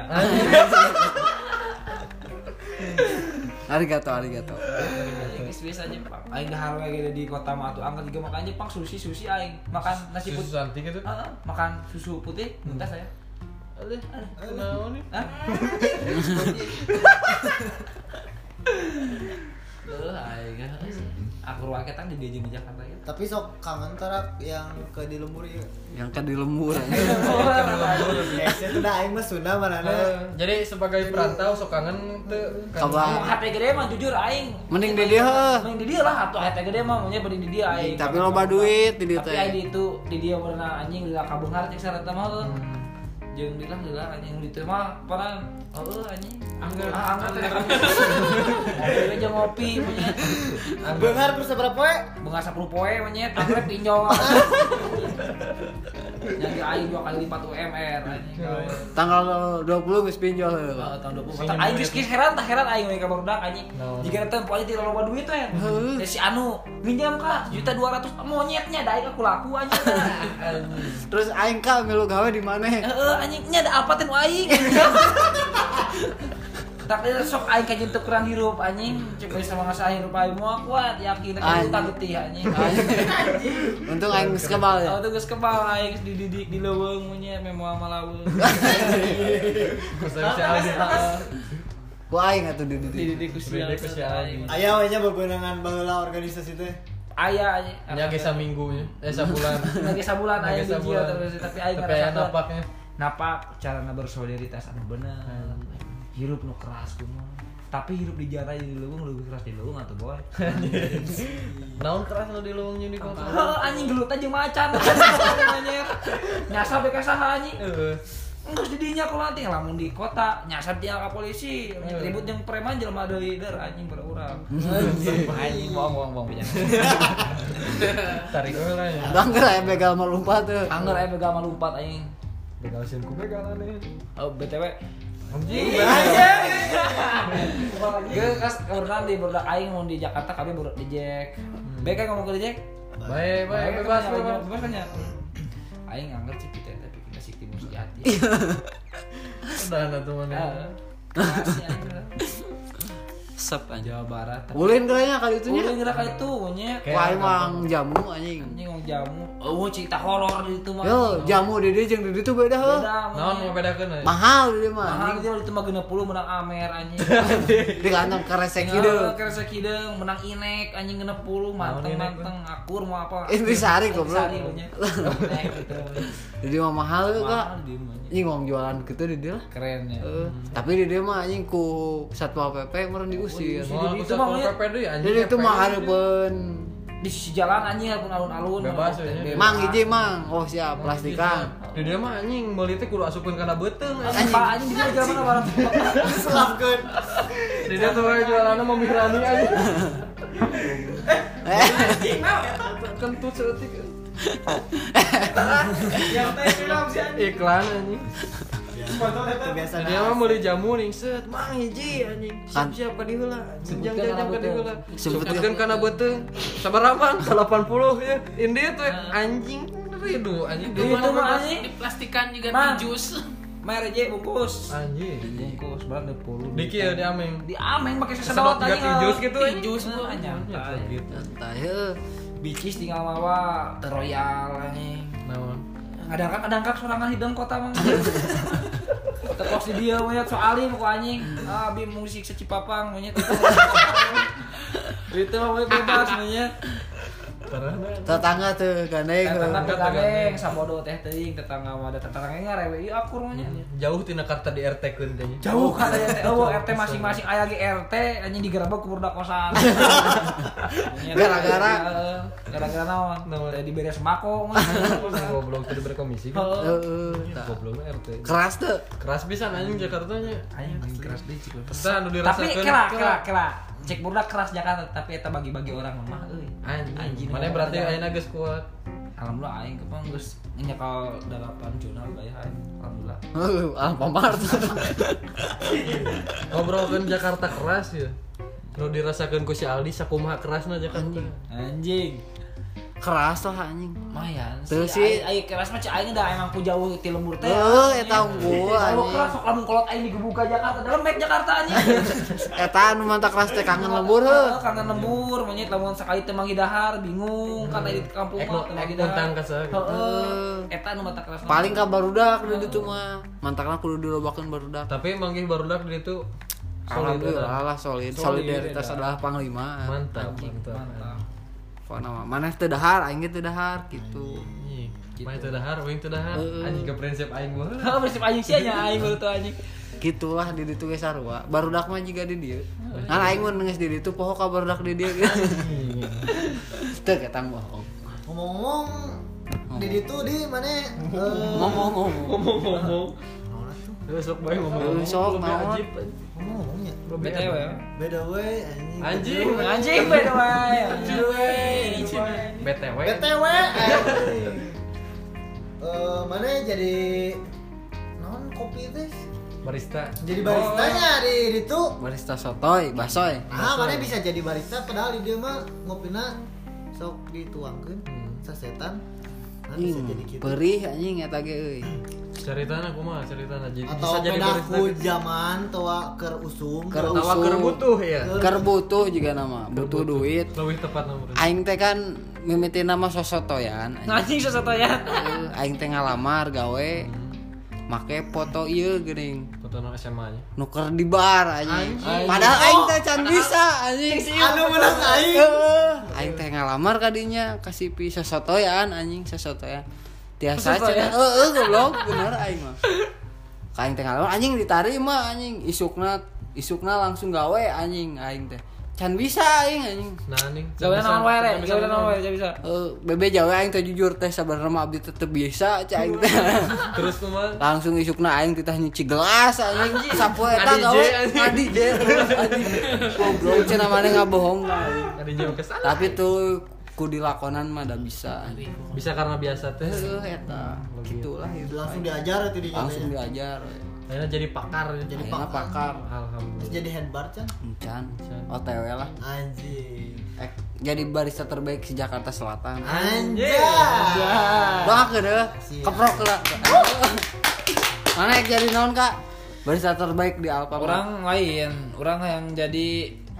S5: Arigato, arigato.
S6: Anjing geus biasa Jepang. Aing dahar we ge di kota mah atuh angkat juga makan Jepang sushi sushi aing. Makan nasi
S2: Susu
S6: putih.
S2: Santi gitu.
S6: Heeh, makan susu putih muntah saya.
S2: Aduh, naon nih?
S6: Hah? Loh, aing ah. aku ruang ketang di Beijing di Jakarta gitu.
S1: tapi sok kangen tarak yang ke di lembur ieu
S5: Yang ke di lembur anjing.
S6: Oh,
S1: eh itu dah aing mah Sunda
S2: Eh,
S1: marana
S2: jadi sebagai perantau sok kangen teu
S5: Kabar.
S6: Mau hati gede mah jujur aing.
S5: Mending di dieu, heuh.
S6: Mending di dia lah atau hati gede mah maunya mending di dia aing.
S5: Tapi loba duit di dieu
S6: Tapi aing di
S5: teh.
S6: itu di dia pernah anjing lila kabengar cek sarata mah heuh. Jeung di lah lila anjing di teu mah pernah heuh anjing.
S3: Angger.
S6: Ah, angger. Ngopi aja ngopi monyet.
S1: beungar terus seberapa we
S6: Bengar 10 poe monyet, anggrek tinjau. Jadi aing dua kali lipat UMR anjing. gawe.
S5: Tanggal 20 geus pinjol heula.
S6: Heeh, tahun 20. Tah aing geus kieu heran tah heran aing we ka barudak anjing.
S2: Naon?
S6: Jika datang pokoknya tidak loba duit teh.
S5: Heuh.
S6: Teh si anu minjam ka juta 200 monyetnya da aing aku laku anjing.
S5: Terus aing ka milu gawe di mana?
S6: Heeh Eh, anjing nya da alpatin wa aing. Tapi sok aing ka jentuk kurang hirup anjing. Coba sama ngasa hirup aing moal kuat yakin ka
S5: Anjing.
S6: juta getih anjing.
S5: Untung aing geus kebal ya.
S6: Oh, tuh geus kebal aing geus dididik di leuweung monyet memoal malaweung.
S2: Kusari si Aldi. Heeh.
S5: Ku aing atuh di dieu.
S6: Dididik ku si
S2: Dididik ku si
S6: aing.
S2: Aldi.
S1: aya we nya bebeunangan baheula organisasi teh
S6: Aya anjing.
S2: Nya ge saminggunya, eh sabulan.
S6: lagi sabulan
S2: Lagi
S6: aing di
S2: sabulan.
S6: terus tapi aing
S2: Tapi aya
S6: ngerasa
S2: napaknya.
S6: napak carana bersolidaritas anu bener hirup nu keras kumaha tapi hirup di jalan di leuweung leuwih keras di leuweung atuh boy
S2: Naon keras lu di leuweung jeung di kota.
S6: Heuh, anjing gelut aja macan anjir nyasar bae ka saha anjing
S2: Heeh.
S6: Enggak didinya kalau nanti lamun di kota nyasar dia ke polisi ribut yang preman jelema deui der anjing berurang anjing bohong bohong bohong punya
S2: Tarik euy lah ya.
S5: Bangger aya begal melompat teh.
S6: angger aya begal malumpat anjing
S2: Begal sieun ku begal aneh.
S6: oh btw
S2: Anjing.
S6: Gue kas orang di berdak aing mau di Jakarta kami berdak di Jack. Baik kan ngomong ke di Jack?
S2: Bae, bae bebas,
S6: Tanya,
S2: bebas.
S6: bebas tanya. Aing anggar cipit ya tapi kita sih timun sejati.
S2: Udah ada tuh
S6: Ah,
S2: mana.
S6: kasih aja.
S5: Sep anjing.
S6: Jawa Barat.
S5: Ulin kayaknya kali itu nya.
S6: Udah gerak itu punya.
S5: Ku aing mang jamu anjing.
S6: Ini ngomong jamu. Oh cerita horor di itu mah.
S5: Yo, jamu di dieu jeung di dieu tuh beda heuh.
S6: Beda.
S2: Naon mau bedakeun euy?
S5: Mahal dia mah.
S6: Anjing dia itu mah 60 menang Amer anjing.
S5: Di kantong karesek
S6: Kideung,
S5: kieu.
S6: kerasa kideung, menang Inek anjing 60 manteng manteng akur mau apa.
S5: Intisari, Eh, goblok.
S6: Intisari, punya. Inek gitu.
S5: Jadi mah mahal heuh kak.
S6: Mahal dia mah, anjing.
S5: Anjing uang jualan gitu di dieu lah.
S6: Keren ya.
S5: Eh, tapi di dieu mah anjing ku Satpol PP meureun Oh, diusir.
S2: Mau
S6: Jadi
S2: aku
S6: itu
S2: satpol
S6: mah,
S2: PP deui anjing.
S5: Jadi itu
S2: PP.
S5: mah hareupeun
S6: Di sisi jalan anjing walaupun alun-alun.
S2: Bebas,
S6: walaupun
S2: ya.
S6: bebas.
S5: Mang hiji mang. Oh siap plastikan.
S2: Di dia mah anjing meuli teh kudu asupkeun kana beuteung. anjing.
S6: Anjing Pak, anjing di mana jalan mana barang.
S1: selapkeun
S2: Di dia tuh bae jualanna memirani anjing.
S5: Eh,
S2: Kentut seutik. Iklan anjing.
S1: biasa
S2: Jadi mah meuli jamu ning set mang hiji anjing. Siap-siap ka diheula. Jang jang jang ka diheula. Sebutkeun kana beuteung. Sabaraha mang 80 ya. Indit we anjing. Ridu anjing.
S6: Itu mah
S3: Mana-mana
S6: anjing.
S3: Diplastikan juga
S6: Mang.
S3: di jus.
S6: mere je bungkus
S2: Anjir.
S6: bungkus barang deh puluh
S2: Diki ya di ameng.
S6: di ameng pakai
S2: Sedot
S6: sesedot
S2: gak tijus gitu. anjing.
S6: tijus mah anjing.
S2: Nah, gitu.
S5: Entah, heuh.
S6: bicis tinggal mawa teroyal anjing
S2: Naon?
S6: ngadangkak ngadangkak sorangan hidung kota mah kita kos di dia monyet soalnya mau anjing ah bi musik secipapang monyet itu mah monyet bebas monyet
S2: Karena
S5: tetangga tuh gandeng
S6: tetangga
S2: Tetangga,
S6: tetangga sabodo teh eh, teuing tetangga mah ada tetangga ngarewei ieu Iya, akur mah nya.
S2: jauh tina karta di RT kan kayaknya.
S5: Oh,
S6: jauh kan ya teh eueuh, RT masing-masing aya ge RT anjing digerebek ku budak kosan
S5: Gara-gara?
S6: Heeh, gara-gara naon teh diberi semako mah
S2: Goblok tidak berkomisi kan.
S5: Heuh, tah.
S2: Goblok mah RT.
S5: keras tuh
S2: Keras pisan anjing Jakarta nya.
S6: Anjing keras deh
S2: Pesan udah
S6: tapi kela kela kela cek budak keras Jakarta tapi eta bagi-bagi orang mah euy
S2: Anjing. Mana berarti ayeuna geus kuat.
S6: alhamdulillah aing kepang geus nyekal 8 jurnal bae aing alhamdulillah
S5: Heuh, ah pamar
S2: Ngobrolkeun Jakarta keras ya. Nu dirasakeun ku si Aldi sakumaha kerasna Jakarta.
S6: anjing
S5: keras tuh anjing
S6: lumayan
S5: Tuh sih.
S6: sih aing keras mah cai da emang ku jauh ti lembur teh
S5: Heuh,
S6: anjing.
S5: eta unggul,
S6: Kalau
S5: anjing.
S6: keras sok lamun kolot aing digebuka Jakarta dalam baik Jakarta anjing
S5: eta anu mantap keras teh kangen lembur heuh.
S6: karena lembur monyet lamun sakali teu manggi dahar bingung kan di kampung
S2: Ek-
S6: mah teu manggi
S2: ek
S6: dahar.
S2: muntang ka saha.
S6: Heeh. eta nu mata keras
S5: paling kabar udah kudu itu mah mantakna kudu dilobakeun barudak
S2: Tapi manggih barudak di itu
S5: Alhamdulillah lah solid
S2: Solid,
S5: solidaritas
S2: dah.
S5: adalah panglima
S2: Mantap, mantap.
S5: pokoknya mah mana teu dahar aing ge teu dahar gitu
S2: Anjing. Main teu dahar, wing teu dahar. Anjing ke prinsip aing mah.
S6: Heeh, prinsip anjing sih nya aing baru tuh anjing
S5: gitulah di ditu ge sarua barudak mah jiga di dieu kan aing mun geus di ditu poho ka barudak di dieu teu ketang bohong
S1: Ngomong-ngomong, Didi tuh di mana? eh,
S5: ngomong ngomong
S2: Ngomong-ngomong. Besok bae ngomong.
S5: Heuh, sok
S2: Lebih
S5: naon.
S2: ajib, anjing.
S1: Ngomong-ngomongnya.
S2: Lebih
S6: btw
S2: ajib.
S1: Beda way anjing.
S2: Anjing,
S6: anjing by the way
S2: BTW.
S1: BTW anjing. Eh, mana jadi non kopi teh?
S2: Barista.
S1: Jadi baristanya di itu.
S5: barista sotoy basoy
S1: Ah, mana bisa jadi barista padahal di dia mah ngopina sok dituangkeun sasetan. Nah, bisa
S5: Hmm,
S1: jadi gitu.
S5: perih anjing eta ge euy
S2: Ceritana kumaha ceritana jadi
S1: Atau pedaku zaman tua ker usum. Keur-
S5: Keur
S2: Tawa
S5: usum.
S2: keur butuh ya.
S5: keur butuh juga nama butuh duit
S2: Lebih tepat nomor.
S5: aing teh kan mimiti nama sosotoyan anjing.
S6: anjing sesuatu ya
S5: Eh, aing teh ngalamar gawe make foto ieu geuning
S2: Foto no SMA nya.
S5: nuker di bar anjing padahal aing teh can bisa anjing
S1: Anu menang aing.
S5: Heeh. aing teh ngalamar kadinya kasih pi sosotoyan anjing sosotoyan tiasa aja heeh goblok bener aing mah Ka aing teh ngalamar anjing ditarima anjing isukna isukna langsung gawe anjing aing teh can bisa aing anjing
S2: Nah, nih.
S6: Jauh naon wae, jauh naon wae, bisa.
S5: Eh, bebe jawa aing teh jujur teh sabar nama abdi tetep bisa cah aing teh
S2: Terus kumaha?
S5: langsung isukna aing titah nyuci gelas anjing sapu eta
S2: Ngadi
S5: gawe
S2: je, anjing.
S5: ngadi je terus anjing goblok cenah maneh ngabohong anjing.
S2: Ada jauh ke sana.
S5: tapi tuh ku dilakonan mah da bisa anjing.
S2: Bisa karena biasa teh.
S5: Heuh, eta gitulah hidup
S1: Langsung diajar itu di
S5: langsung diajar
S2: Akhirnya jadi pakar jadi
S1: Jadi pakar.
S5: ayeuna pakar
S1: Terus
S2: alhamdulillah.
S1: jadi head bar can.
S5: encan otw lah
S1: Anjing.
S5: Eh, jadi barista terbaik si Jakarta Selatan
S1: Anjay.
S5: doakeun deh keprok lah mana yang jadi naon kak barista terbaik di Alfa
S6: Orang lain, orang yang jadi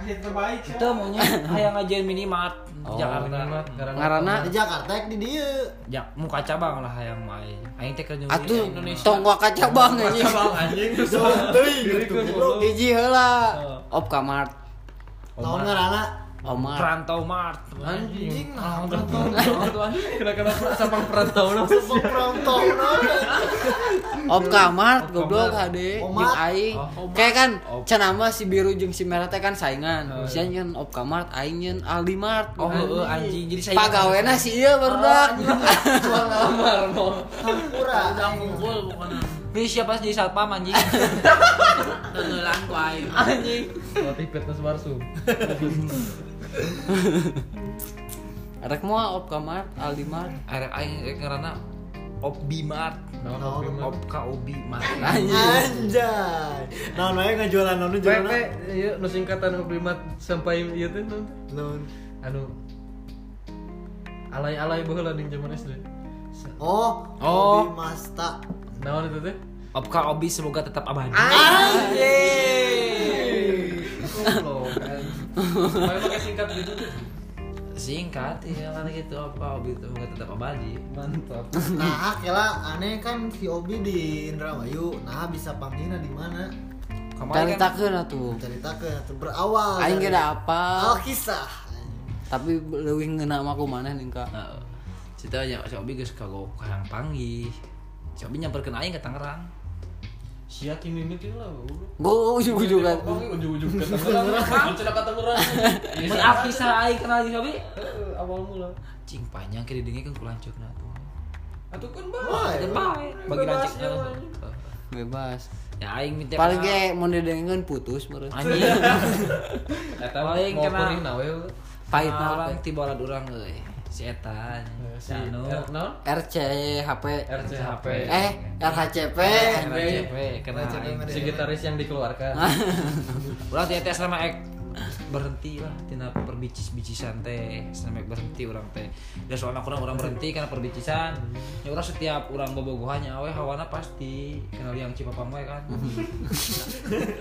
S6: itu maunya yang ngajain minimart
S2: Oh,
S6: Jakarta.
S5: karena
S1: Di Jakarta ek di dieu.
S6: Ya, muka cabang lah yang main. Aing teh kerja
S5: Atuh, tonggok kaca bang anjing.
S2: anjing
S5: Hiji heula. Op kamar.
S1: Tahun ngaranna
S5: Omar.
S6: perantau mart.
S1: anjing nah.
S2: Kena kena sapang perantau lah.
S1: Sebab perantau
S5: Op kamar goblok HD jeung
S1: Omar.
S5: aing. Kayak kan cenah mah si biru jeung si merah teh kan saingan. Sia nyeun op kamar aing nyeun Aldi Mart.
S6: Oh, heeh anjing. Jadi saya
S5: Pagawena si ieu
S1: Oh,
S5: barudak.
S1: Campura.
S3: Udah ngumpul pokoknya
S6: Ini siapa jadi satpam anjing?
S3: Tenggelan ku aing.
S6: anjing.
S2: Latih fitness barsum.
S5: Rek moal op kamar Aldi Mart.
S6: Arek aing rek ngaranna Obi Mart.
S2: Naon
S6: Op Obi Mart.
S5: Anjing.
S1: Anjay. Naon wae ngajualan naon jualan.
S2: PP, iya, nu singkatan oblimat sampai iya teh naon?
S1: Naon.
S2: Anu alay-alay baheula ning zaman SD.
S1: Oh, Kopi
S6: Oh.
S1: Masta.
S2: Naon itu teh?
S4: Opka Obi semoga tetap abadi.
S2: Goblok, kan. Tapi pakai singkat gitu tuh.
S6: Singkat ya kan gitu apa Obi semoga tetap Iya. abadi.
S2: Mantap.
S1: Nah, kira aneh kan si Obi di Indramayu. Nah, bisa panggilnya di mana?
S5: Cari takeun atuh.
S1: Cerita ke berawal.
S5: Aing
S1: dari-
S5: ge da apa?
S1: Oh, kisah.
S5: Tapi leuwih ngeuna mah kumaha nih ka.
S6: Nah, cerita aja si Obi geus kagok kahang panggih. Si Obi nyamperkeun aing ke Tangerang.
S2: Si Hakim ini tuh lah. goblok.
S5: Go ujug-ujug kan.
S2: Pokoknya Ujung-ujung ke Tangerang. Kan cerita ke Tangerang. Iya,
S4: Mun ah, kisah aing kenal jeung Obi.
S2: eh, Awal mula.
S6: Cing panjang ke didengi kan kulancukna tuh.
S2: Atau kan
S1: Wah,
S2: bah.
S1: ya.
S6: Bae, bagi
S2: Bebas,
S6: lancik.
S2: ya,
S5: Bebas.
S6: Ya aing minta
S5: Paling ge mun didengeun putus meureun.
S6: anjing.
S2: Eta
S6: Paling
S2: mau
S6: kena-
S2: kuring nawe. we.
S5: Pahit
S6: Pahit
S5: banget,
S6: orang
S5: ya.
S6: tiba orang orang euy. Si eta. anjing.
S2: Si
S6: Anu.
S2: Er- naon?
S5: RC HP
S2: RCHP.
S5: eh RHCP.
S6: RCP kena
S1: RCP.
S6: aing.
S2: Si gitaris yang dikeluarkan.
S6: Ulah teh teh selama ek berhenti lah tina perbicis-bicisan teh selama ek berhenti orang teh dan soalnya kurang orang berhenti karena perbicisan ya orang setiap orang bobogohannya awe hawana pasti kenal yang cipapam we kan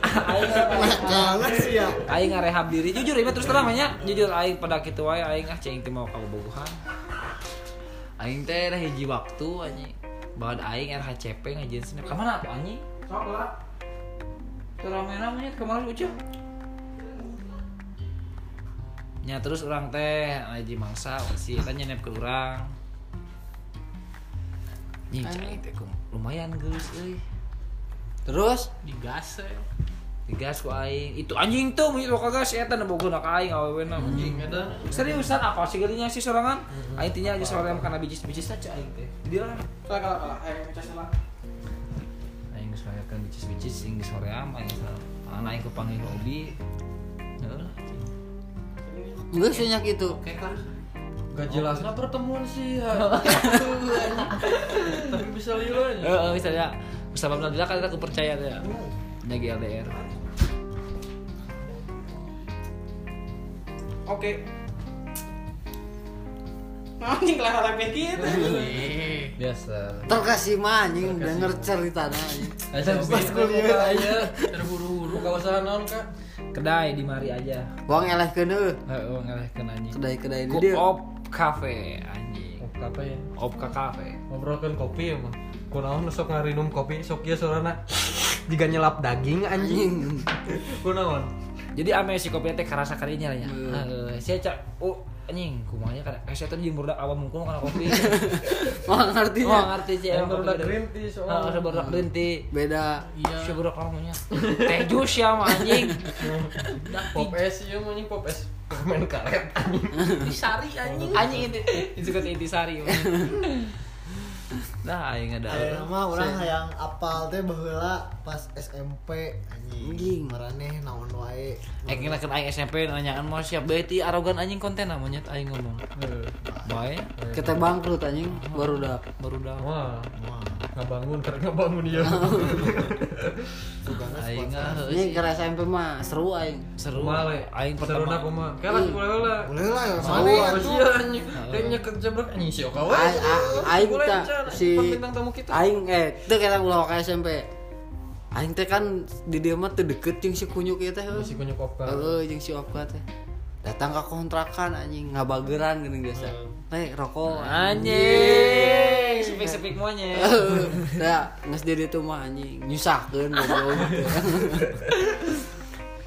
S6: aing ngarehab-
S1: Jangan sih ya.
S6: aing ngarehab diri jujur ini terus terang nya jujur aing pada kitu wae aing ah cing teu mau ka bobogohan aing teh dah hiji waktu anjing bahan aing er RHCP ngajin snap ka mana atuh anjing sok lah Terame namanya kemarin ucap nya terus orang teh aji mangsa si eta nyenep ke urang nying cai teh kum- lumayan geus euy
S5: Terus
S3: digas eh.
S6: digas ku aing itu anjing tuh mun itu kagak si eta nebogohna ka aing awewena anjing
S2: Hmm, Eta Hmm.
S6: seriusan apa sih gerinya sih sorangan aing tinya aja sorangan karena bijis-bijis saja aing teh dia lah
S2: kalah kalah. Eh, pecah salah.
S6: aing geus ngayakeun bijis-bijis aing geus soream aing soream aing kepanggil hobi heula
S5: geus nya gitu.
S3: Oke kan.
S2: Gak jelasnya Nah, pertemuan sih. Tapi bisa lihat.
S6: Heeh, misalnya Ustaz ya. Abdul kan kita kepercayaan ya. Nyagi LDR.
S7: Oke. Anjing gitu. lah harapan kita.
S2: Biasa.
S5: Terkasih mah anjing denger ceritanya anjing.
S2: Pas kuliah aja. Terburu-buru. Buka usaha naon kak? Eh,
S6: Kedai di mari aja.
S5: Wong elehkeun
S2: oh,
S5: euy.
S6: Heeh, ngelehkeun anjing.
S5: Kedai-kedai di
S6: Ku
S5: dieu.
S6: op cafe anjing.
S2: Kopi apa ya?
S6: Op ka cafe.
S2: Ngobrolkan kopi emang. Kunaon sok ngarinum kopi sok ieu sorana. Jika nyelap daging anjing. Kunaon?
S6: Jadi ame si kopi teh karasa karinya nya. Heeh, sia cak oh anjing kumanya kada eh saya tadi jeung budak awam mungkul kana kopi.
S5: Wah ngerti
S6: Oh,
S5: nya.
S6: ngerti sih.
S2: Yang baru green tea
S6: Heeh,
S2: soalnya.
S6: budak green tea.
S5: Beda.
S6: Iya. Si budak lamanya. Teh jus ya mah anjing.
S2: Pop es ieu mah anjing pop es. Main karet anjing.
S3: Disari anjing.
S6: Anjing itu. Itu kata intisari. mah. Nah, aing ada.
S1: Ayeuna mah urang hayang apal teh baheula pas SMP
S5: Anjing.
S1: anjing. Marane naon wae.
S6: Eh kena kena aing SMP nanyaan mau siap bae ti arogan anjing konten namanya teh aing ngomong. Bae
S5: Kita bangkrut anjing baru dak.
S6: baru dah.
S2: Wah. Ngabangun, keren ngabangun iya. dia.
S1: Sugana
S6: Aing
S1: sponsor.
S6: ah,
S5: Ini ke SMP mah seru aing.
S6: seru.
S2: Kumaha le?
S6: Aing
S2: Seruna
S6: pertama.
S2: kumaha? Kalah boleh lah.
S1: Boleh lah ya,
S2: Mana
S1: mana ya
S2: atuh? iya, anjing. Kayaknya kerja berak anjing sih kawan.
S5: Aing aing
S2: Boleh,
S5: ta-
S2: Chan.
S5: si
S2: Anjing, bintang tamu kita.
S5: aing eh teu kita ulah ke SMP. Aing teh kan di dia mah teu deket jeung si kunyuk ieu teh.
S2: Iya, Si kunyuk opka.
S5: Heeh, jeung si Opka teh. Datang ke kontrakan anjing ngabageran geuning biasa. Teh rokok
S6: Anjing. Sepik-sepik monyet.
S5: Heeh. Da geus di ditu mah anjing nyusahkeun goblok.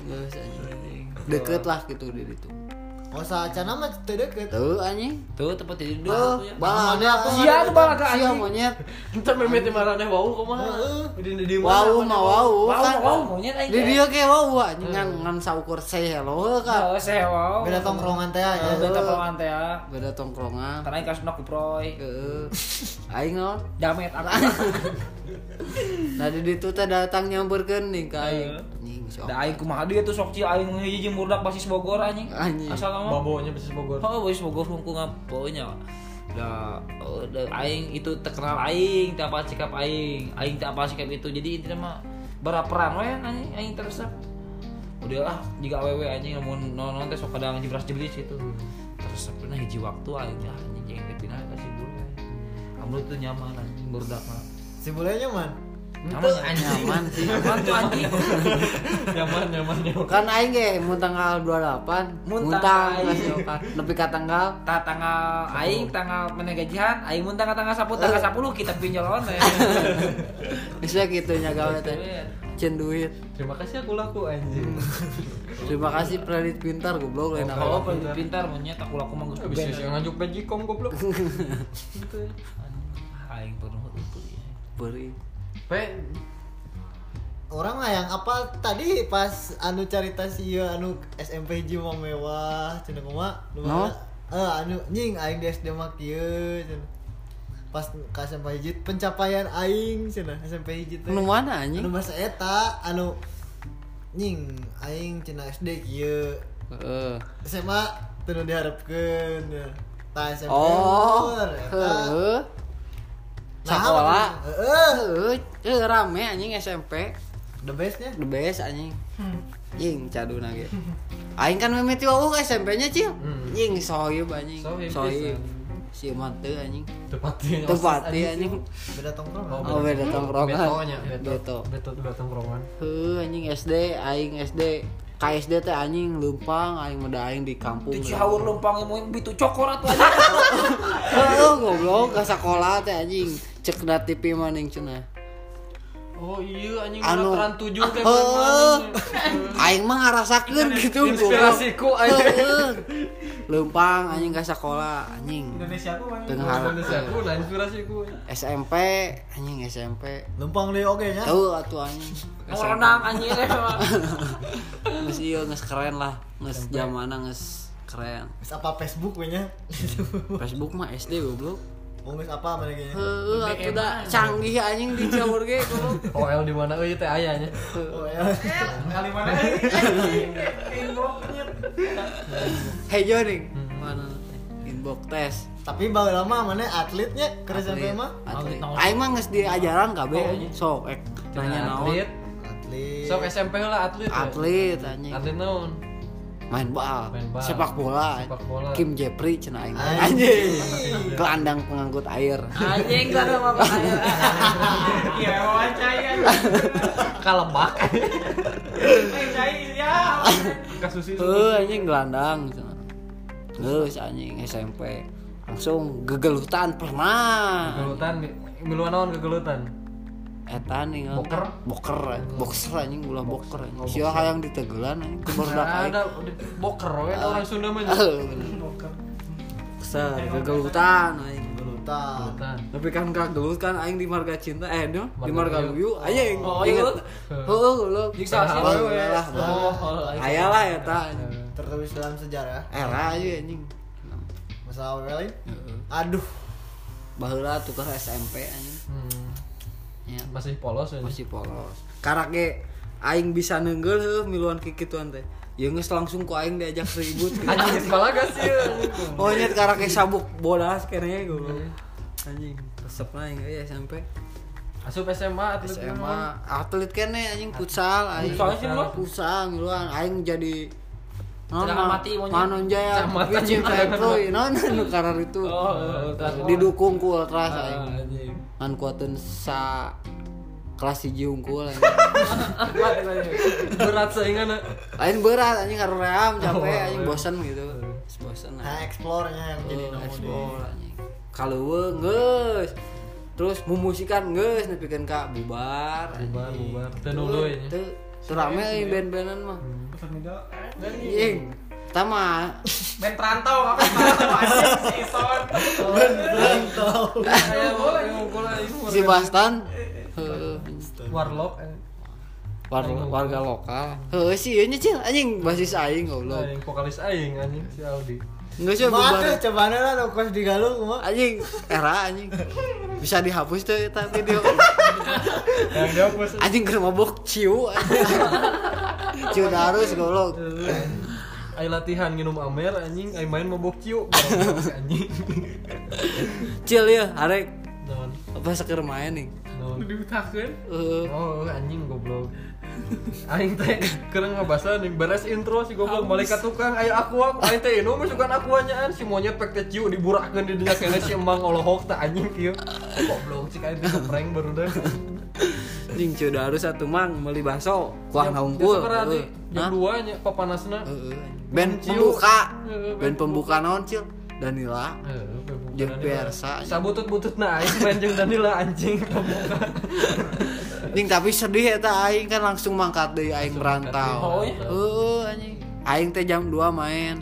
S5: Geus anjing. Deket lah gitu di ditu.
S1: Oh, saacana mah teu deukeut.
S5: Tuh anjing.
S6: Tuh tempat tidur dulu.
S5: Tuh,
S1: Mana
S5: bala.
S1: aku
S5: Sia
S1: ngadeukeut.
S5: tuh bala ka anjing. Sia monyet.
S2: Entar memet marane wau kumaha? Di di mana?
S5: Wau mah wau kan.
S6: Wow, monyet aing.
S5: Di dia kayak wau anjing ngan ngan saukur hello kan.
S6: Oh, sewa.
S1: Beda tongkrongan teh aja.
S6: Eh, Beda tongkrongan teh ya.
S5: Beda tongkrongan.
S6: Karena aing kasih ku proy.
S5: Heeh. Aing naon?
S6: Damet ah. anak.
S5: Nah di ditu teh datang nyamperkeun ning ka aing. Anjing sok.
S6: Da aing kumaha dia tuh sok ci aing hiji jeung burdak basis Bogor anjing.
S5: Anjing.
S6: Asal ngomong.
S2: Babonya bisa Bogor.
S6: Oh, wis bogoh hungkung aponya. Da, oh, da aing itu terkenal aing, tak apa sikap aing, aing tak apa sikap itu. Jadi intinya mah beraperan we anjing aing teresep. Udah lah, jika awewe anjing namun non teh sok kadang jeblas jeblis gitu. Terus pernah hiji waktu aing ya anjing ya. jeung teh pindah ka si bule. Amrut tuh nyaman anjing barudak mah.
S1: Si bulenya man.
S4: Itu anjing.
S5: nyaman sih
S4: Apaan tuh anjing?
S2: nyaman nyaman nyaman
S5: kan aing ge mun tanggal 28
S4: Muntang
S5: muntang
S4: aing.
S5: kasih oka nepi ka tanggal
S4: Ta tanggal aing tanggal mana gajian, aing mun tanggal tanggal 10 tanggal 10 kita pinjol online.
S5: bisa gitu nyaga we teh cen duit
S2: terima kasih aku laku anjing
S5: terima kasih kredit pintar goblok lain
S4: Oh,
S5: apa
S4: pintar, pintar punya tak kula aku mah geus
S2: bisnis
S4: bener.
S2: yang ngajuk bajikom goblok
S6: aing perlu
S5: beri
S2: pe
S1: orang mah yang apa tadi pas anu carita si ieu anu SMP jiwa mewah cenah kumaha nu
S5: No?
S1: mana? eh anu nying aing di SD mah kieu cenah pas ke SMP hiji pencapaian aing cenah SMP hiji teh
S5: nu mana
S1: anu
S5: anjing
S1: masa eta anu nying aing cenah SD kieu
S5: heeh
S1: SMA teu nu diharepkeun ya. tah SMP
S5: oh
S1: unggul, eta.
S5: heeh
S1: Nah,
S5: sekolah
S1: heeh
S5: heeh eh, rame anjing SMP
S1: the bestnya
S5: the best anjing Ying caduna ge. Aing kan memet yo uh, SMP-nya cil. Ying sohib anjing.
S2: Sohib,
S5: Sohib.
S2: pisan.
S5: Si mante anjing.
S2: tepatnya
S5: Tepati anjing.
S1: beda tongkrong ya?
S2: Oh,
S5: Oh beda tongkrongan.
S2: betonya
S5: Beto.
S2: beto beto tuh datang roman
S5: Heuh anjing SD, aing SD. KSD teh anjing lumpang, aing meda aing di kampung.
S4: Itu cihaur lempang mau bitu cokor atuh anjing.
S5: Heuh goblok ka sakola teh anjing. Cek na TV maning cenah.
S2: oh iya anjing
S5: Anu. oh.
S2: anu tujuh teh
S5: Heuh.
S2: mana-mana.
S5: Aing mah ngarasakeun gitu goblok.
S2: Inspirasiku, anjing.
S5: Heuh. Leumpang anjing ka sakola anjing.
S7: Indonesia aku mana?
S5: Tengah
S2: Indonesia aku lah inspirasi ku
S5: SMP anjing SMP
S1: lempang deh oke nya
S5: tahu atuh anjing
S4: Mau renang anjing eh, sama.
S5: nges iya nges keren lah nges zamana nges keren
S1: Terus apa Facebook we nya
S5: Facebook mah SD goblok
S1: mau nges apa mana kayaknya
S5: heuh atuh da canggih anjing di jamur ge goblok
S2: OL di mana euy teh ayahnya
S1: oh ya
S7: Kali mana? Inboxnya.
S5: hejo ning mana teh? inbox tes
S1: tapi bawa lama mana atletnya keras sampai mah
S5: atlet aing mah nges di ajaran kabeh sok ek nanya Iya, naon
S2: atlet
S1: atlet
S5: eh.
S2: sok SMP lah atlet ya.
S5: atlet anjing
S2: atlet naon
S5: main bal
S2: Main bal.
S5: sepak bola
S2: Sepak bola.
S5: Kim Jeffrey cenah aing
S1: Anjing.
S5: anjing gelandang pengangkut air
S4: Anjing kan sama bahaya.
S7: Iya, wawancaya.
S2: kalebak
S7: Eh, cai, ya.
S2: kasus
S5: Heuh anjing gelandang cenah. Geus anjing SMP. Langsung gegelutan pernah.
S2: gelutan miluan naon kegelutan
S5: Eta nih kan.
S2: Boker?
S5: Boker. anjing. Boxer anjing ulah boker anjing. Sia hayang ditegelan anjing keberdak
S2: Nah, ada di- boker we
S5: Ah.
S2: orang Sunda mah
S5: Ser gegelutan anjing.
S1: gelutan
S2: gelutan
S5: Tapi kan gak gelut kan aing di marga cinta eh no, di
S2: Marga
S5: marga
S2: Luyu.
S5: luyu anjing.
S4: Oh,
S5: Ingat.
S4: iya.
S5: Heuh gelut.
S4: Jiksa sih.
S5: Alhamdulillah. Hayalah eta anjing.
S1: tertulis dalam sejarah eh.
S5: Era aja anjing.
S1: masa awalin aduh
S5: Baheula tukar SMP anjing.
S2: Hmm,
S5: Ya.
S2: masih polos we.
S5: masih polos karake aing bisa nenggel heuh miluan kikituan teh ya geus langsung ku aing diajak ribut
S2: anjing kepala gak sih
S5: oh nyet karake sabuk bolas kene goblok anjing resep aing euy SMP
S2: asup SMA atlet
S5: SMA atlet kene anjing futsal aing
S4: Futsal sih lu?
S5: futsal miluan aing jadi Non,
S4: Jangan
S5: ma-
S4: mati, monyet.
S5: Manon Jaya,
S2: Jangan mati.
S5: Wicin Petroy, non, nu karar
S4: Oh,
S5: itu didukung ku
S4: Ah,
S5: ultras aing.
S2: Ah, anjing
S5: Ngan kuatin sa kelas hiji unggul aing.
S2: berat saingan eh.
S5: lain berat anjing harus ream
S4: Oh,
S5: capek anjing bosen gitu Terus bosen
S1: nah explore nya yang jadi
S5: anjing
S1: nomor
S5: ekspor anjing kalau geus terus mumusikan geus nepikeun ka bubar
S2: bubar bubar teu
S5: tuh
S2: nuluy nya.
S5: teu rame euy band-bandan mah
S2: Hmm.
S5: Iya, anjing tama
S7: Ben Trantau, apa Trantau anjing si Son.
S2: Aya mah yang mukul aing mah.
S5: si
S2: Eh,
S5: Bastan heuh,
S2: warlock eh.
S5: war- warga lokal heuh sih ieu nya cil anjing basis aing goblok
S2: aing Nah, vokalis aing anjing si Aldi
S5: geus ya
S1: Mah
S5: bubar
S1: tuh coba lah lo kos di Galuh mah.
S5: anjing era anjing bisa dihapus tuh eta video
S2: yang dihapus
S5: anjing ke mabok ciu anjing. ciu darus goblok
S2: aing latihan nginum amer anjing aing main mabok ciu anjing
S5: cil ya arek
S2: naon
S5: apa seker main nih
S2: naon
S5: Eh,
S2: Oh anjing goblok Aing teh kereng ngebasa nih beres intro si goblok malaikat tukang aya aqua aing teh inum sukan aquanya an si monyet pek teh ciu diburakeun di dinya keneh si emang olohok teh anjing kieu goblok cik aing teh prank baru deh
S5: Jing cuda harus satu mang beli bakso, kuah
S2: Jam- jam
S5: hongkul.
S2: sabaraha, Ji? Jam
S5: Hah?
S2: dua nya papanasna.
S5: Heeh. Band
S2: Ciu.
S5: pembuka,
S2: Heeh,
S5: band pembuka naon cil? Danila,
S2: Eh,
S5: jeung Persa. anjing.
S2: Sabutut bututna aing nah, main jeung Danila anjing pembuka.
S5: Anjing tapi sedih eta aing kan langsung mangkat deui aing merantau.
S2: Oh, iya?
S5: Heeh anjing. Aing teh jam 2 main.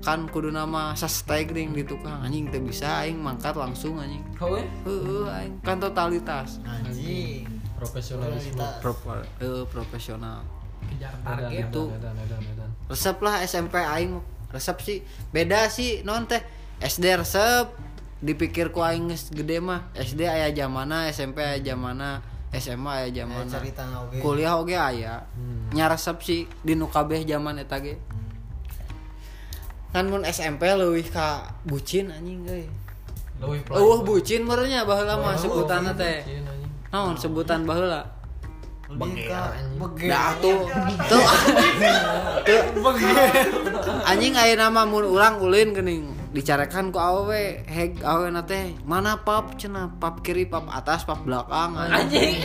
S5: Kan kudu nama sastagring di tukang anjing teh bisa aing mangkat langsung anjing.
S4: Kau eh?
S5: Heeh aing kan totalitas.
S1: anjing
S2: Profesionalisme.
S1: Kualitas.
S5: Proper, profesional.
S3: kejar
S2: Edan,
S3: target
S5: Itu.
S2: edan, edan, edan.
S5: Resep lah SMP aing resep sih beda sih non teh SD resep dipikir ku aing geus gede mah SD aya jamana SMP aya jamana SMA
S1: Aya
S5: aya jamana
S1: Eh, cerita na oge.
S5: kuliah oge aya nya resep sih di nu kabeh zaman eta ge kan mun SMP leuwih ka bucin anjing euy
S2: Leuwih
S5: eueuh bucin barunya baheula mah
S2: Wah,
S5: sebutanna
S2: leuwih
S5: teh
S2: bucin, anjing.
S5: naon sebutan baheula
S1: Beger, beger.
S5: Nah tuh tuh tuh anjing aya nama mun urang ulin geuning dicarekan ku awewe heg awewe teh mana pap cenah pap kiri pap atas pap belakang anjing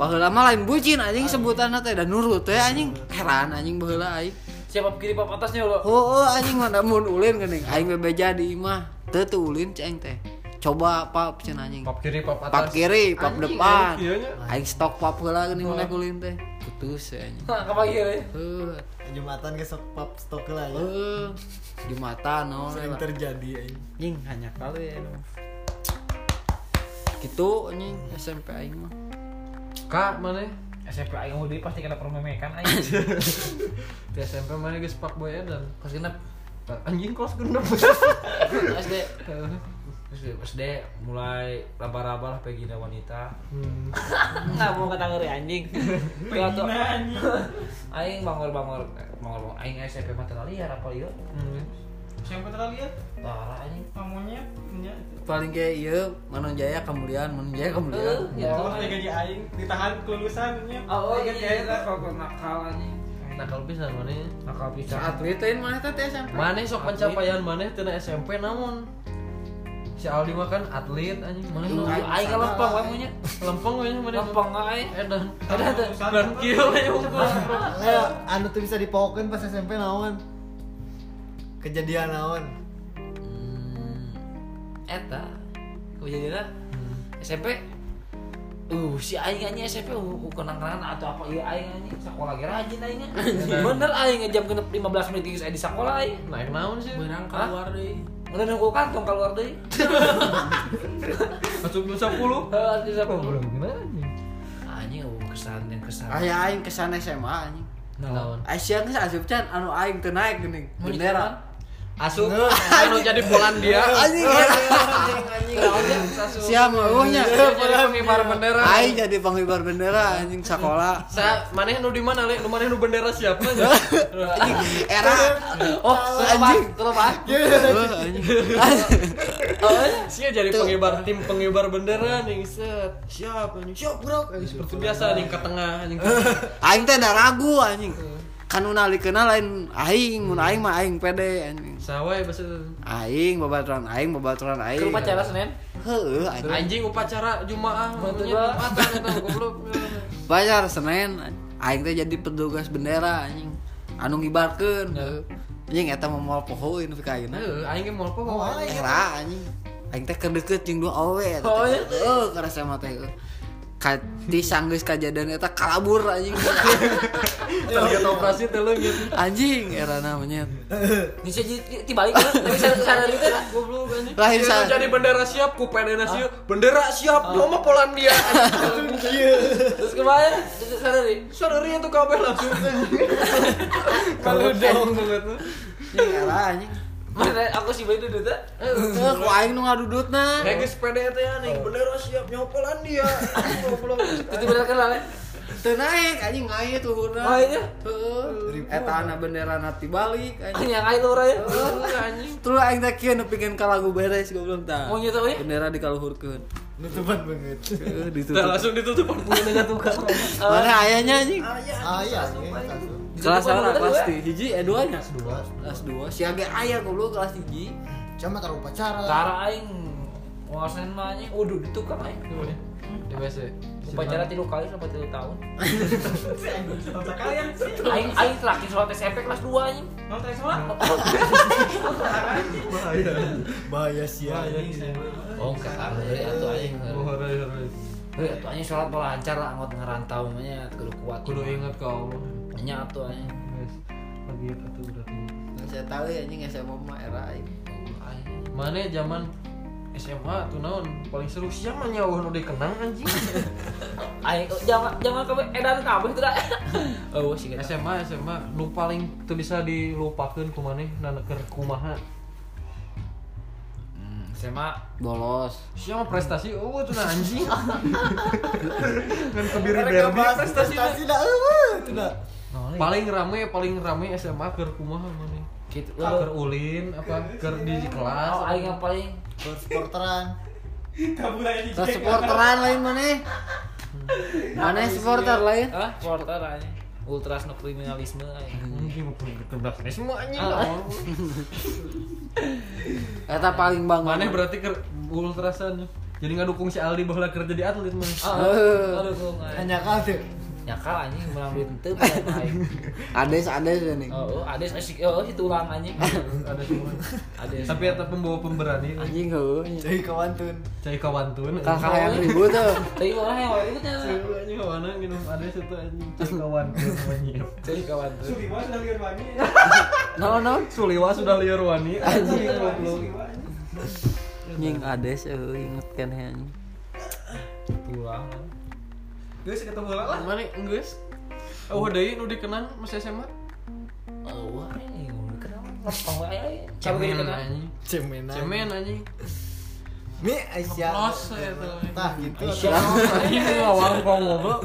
S5: baheula mah lain bucin anjing sebutanna teh dan nurut teh anjing heran anjing baheula aing
S4: Siapa kiri pap atasnya lo?
S5: heueuh anjing mana mun ulin geuning aing bebeja di imah teu teu ulin ceng teh coba pap cenah anjing
S2: Pap kiri pap atas.
S5: pap kiri pap
S2: Anjing,
S5: depan
S2: anjing, ieunya.
S5: aing stok pap heula geuning mana ulin teh putus ya, anjing
S4: Hah, kepagi ya?
S5: Heuh.
S1: Jumatan ke sepap stok lah ya.
S5: Eh, di mata no
S1: Sering terjadi anjing.
S5: anjing hanya kali ya no. gitu anjing SMP aing mah
S2: Kak, mana?
S4: SMP aing mau pasti kena permemekan aing.
S2: Di SMP mana geus pak boy edan.
S6: Kelas genep.
S2: ya, Anjing kelas genep.
S6: SD. Terus SD mulai raba-raba lah pegida wanita.
S2: Hmm.
S4: Enggak mau kata ngeri anjing. Ya tuh.
S6: Aing bangor-bangor eh, bangor-bangor aing SMP mah teu liar apa ieu?
S2: Hmm.
S7: Siapa telah lihat?
S6: Tara anjing.
S7: Kamunya punya.
S5: paling kayak iya Manon Jaya kemuliaan Manon Jaya kemuliaan
S7: Oh, saya gaji aing ditahan kelulusannya.
S4: Oh, iya,
S7: Saya gaji
S4: iya,
S7: aing.
S4: iya, kok kok nakal anjing.
S2: Nah, kalau bisa mana?
S4: Nakal bisa.
S5: atletin mana teh SMP
S2: Mana sok pencapaian mana tina SMP namun. Si Aldi mah kan atlet anjing, mana nu
S4: Aing aing kan lempeng wae munya.
S2: lempeng we mana?
S4: Lempeng aing.
S2: Edan.
S4: Ada ada.
S7: Kelulusan.
S2: Kieu we unggul.
S1: Eh, anu tuh bisa dipokeun pas SMP naon? Kejadian naon?
S6: Eta. Kejadianna
S2: hmm.
S6: SMP Uh, si aing anjing SMP uh, kenang-kenangan atau apa ieu aing anjing sekolah ge rajin aing. Bener aing jam genep 15 menit geus aya di sekolah aing.
S2: Naik naon sih?
S3: berang
S6: Hah?
S3: keluar deh
S6: Udah nunggu kantong keluar deui.
S2: Masuk jam 10.
S6: Heeh, bisa
S2: Oh, Belum kenal anjing.
S6: Anjing uh, kesan yang kesan.
S5: aya aing kesan SMA anjing
S2: Naon?
S5: Asia geus asup can anu aing teu naik geuning bendera
S2: Asup anu jadi Polandia.
S5: Eh, anjing Eh, siapa euhnya
S2: Pengibar bendera.
S5: aing jadi pengibar bendera anjing sekolah
S2: Sa maneh nu di mana le? Nu maneh nu bendera siapa?
S5: era oh anjing
S1: Iya.
S5: Heuh, anjing
S2: Oh, eh? Sia jadi pengibar tim pengibar bendera nih set. Siap anjing. Siap, Bro. Seperti biasa anjing ke tengah anjing.
S5: aing teh ndak ragu anjing
S4: Hmm.
S5: kan nu nalikena lain aing mun aing mah aing pede anjing
S2: Sawai eh. basa.
S5: aing babaturan aing babaturan aing
S4: Ke rumah cara Senin.
S5: heueuh anjing
S2: Anjing upacara Jumaah. Bantunya Jumatan eta goblok.
S5: pacar senen aing teh jadi petugas bendera anjing anu ngibarkeun heueuh. anjing eta mah moal pohoeun nu ka ayeuna
S2: Heuh, Eh, aing ge moal poho.
S5: era anjing aing teh kedeket jeung dua awe eta
S4: Oh,
S5: heueuh ka SMA teh heueuh. ka di sanggeus kajadian eta kalabur anjing
S2: Target operasi teh leungit.
S5: anjing era namanya
S4: Bisa jadi tibalik kan? Tapi sadar itu lah.
S2: Goblok anjing.
S5: Lahir
S2: Ieu
S5: sa-
S2: jadi bendera siap ku PNS ieu. Bendera siap nama Polandia.
S4: Terus kemarin sadar deh.
S2: Sadari itu kabeh langsung. Kalau gitu. dong banget.
S1: Iya
S5: anjing era anjing
S4: Mana aku sih bayi duduk tuh.
S2: Eh,
S5: heueuh ku Eh, aing nu ngadudutna
S2: Regis PDT anjing bendera siap nyopolan dia. Goblok.
S4: Itu benar kenal
S6: eh.
S4: ya?
S5: Teu naik anjing ngaya tuhurna.
S4: Oh, iya?
S5: Heeh. Eh, Eta ana bendera nanti balik anjing.
S4: Yang lain orang
S6: eh.
S4: ya.
S2: Oh, Anjing.
S5: Terus aing teh kieu nu pingin ka lagu beres goblok tah.
S6: Oh,
S4: Mau nyetok
S6: eh.
S4: ya?
S5: Bendera dikaluhurkeun.
S1: Nutupan banget.
S5: Heeh,
S2: Dah
S5: ditutup.
S2: langsung ditutup punya dengan tukang.
S5: Mana ayahnya anjing?
S1: Ah iya, iya, satu.
S5: Kelas
S4: Ditutup
S5: salah
S4: apa
S5: kelas
S4: dua?
S5: 3 hiji eh 2 nya.
S1: Dua.
S5: Kelas 2 si age aya goblok kelas 1.
S1: Cuma taruh upacara.
S4: Tara aing. Wah Senin mah anjing. Udah ditukang aing.
S2: di BC
S6: upacara tilu kali sampai tilu tahun
S3: Tata kalian sih.
S6: aing aing terakhir sholat SMP kelas 2 anjing
S3: Mau tanya sholat?
S2: bahaya
S1: bahaya sih ya
S8: Oh, ke hari atau aing.
S6: Oh,
S2: bahaya bahaya.
S6: Eh,
S8: Heuh, atuh aing sholat pola lancar lah ngot ngerantau nya teu kudu kuat.
S2: kudu ingat ke Allah
S8: nya atuh aing.
S2: Guys, lagi itu berarti
S5: saya tahu ya anjing SMA mah era aing
S2: mana zaman SMA tuh naon paling seru siapa nyawa nu dikenang anjing
S6: aing eh, jangan jangan kamu edan kamu itu dah oh sih kita
S2: SMA SMA nu paling tuh bisa dilupakan kumaneh nanaker kumaha
S6: SMA
S5: bolos
S2: siapa prestasi oh tuh nah anjing kan kebiri
S1: mereka
S2: berbi
S1: bahas
S2: prestasi na.
S1: prestasi dah eh, itu dah
S2: paling rame paling rame SMA ke kumaha mana
S6: gitu
S2: ke ulin apa ke di kelas
S6: oh aing yang paling
S1: supporteran
S3: Kabur aja di
S5: terus supporteran lain mana
S1: eh?
S5: mana supporter lain
S6: ah supporter anjing ultras no kriminalisme aing
S2: mungkin mau ketembak semuanya
S5: kata paling bang
S2: mana berarti ke ultrasan ya? jadi nggak dukung si Aldi bahwa kerja di atlet mah
S6: ah
S5: Eh.
S6: aduh gua nggak-
S1: hanya kau tuh
S6: nyakal anjing melang duit teu padahal aing
S5: ades ades ya nih
S6: oh ada sih oh itu ulang anjing
S2: ada semua
S6: ada
S2: tapi eta pembawa pemberani
S5: anjing heuh anjing.
S1: jadi kawan tuh
S2: cai kawantun
S5: kakak yang ribut tuh
S6: tapi orang yang waktu itu tuh
S2: Anjing kawana minum ada satu anjing cai kawantun namanya
S6: jadi kawan tuh
S3: Suliwa sudah lihat wangi.
S5: no no
S2: Suliwa sudah liar wani anjing goblok.
S3: Suliwa.
S5: anjing ades eh, heuh inget kan anjing
S6: pulang
S3: Terus ketemu lah.
S2: mana geus Oh, deui nu dikenang mas SMA?
S6: oh ini gue kenal ngepong aja coba gini kenal
S2: anjing.
S1: cemenan
S2: Cemen anjing.
S1: mi Aisyah
S9: Plus itu.
S1: tah gitu
S2: Anjing ngawangkong goblok.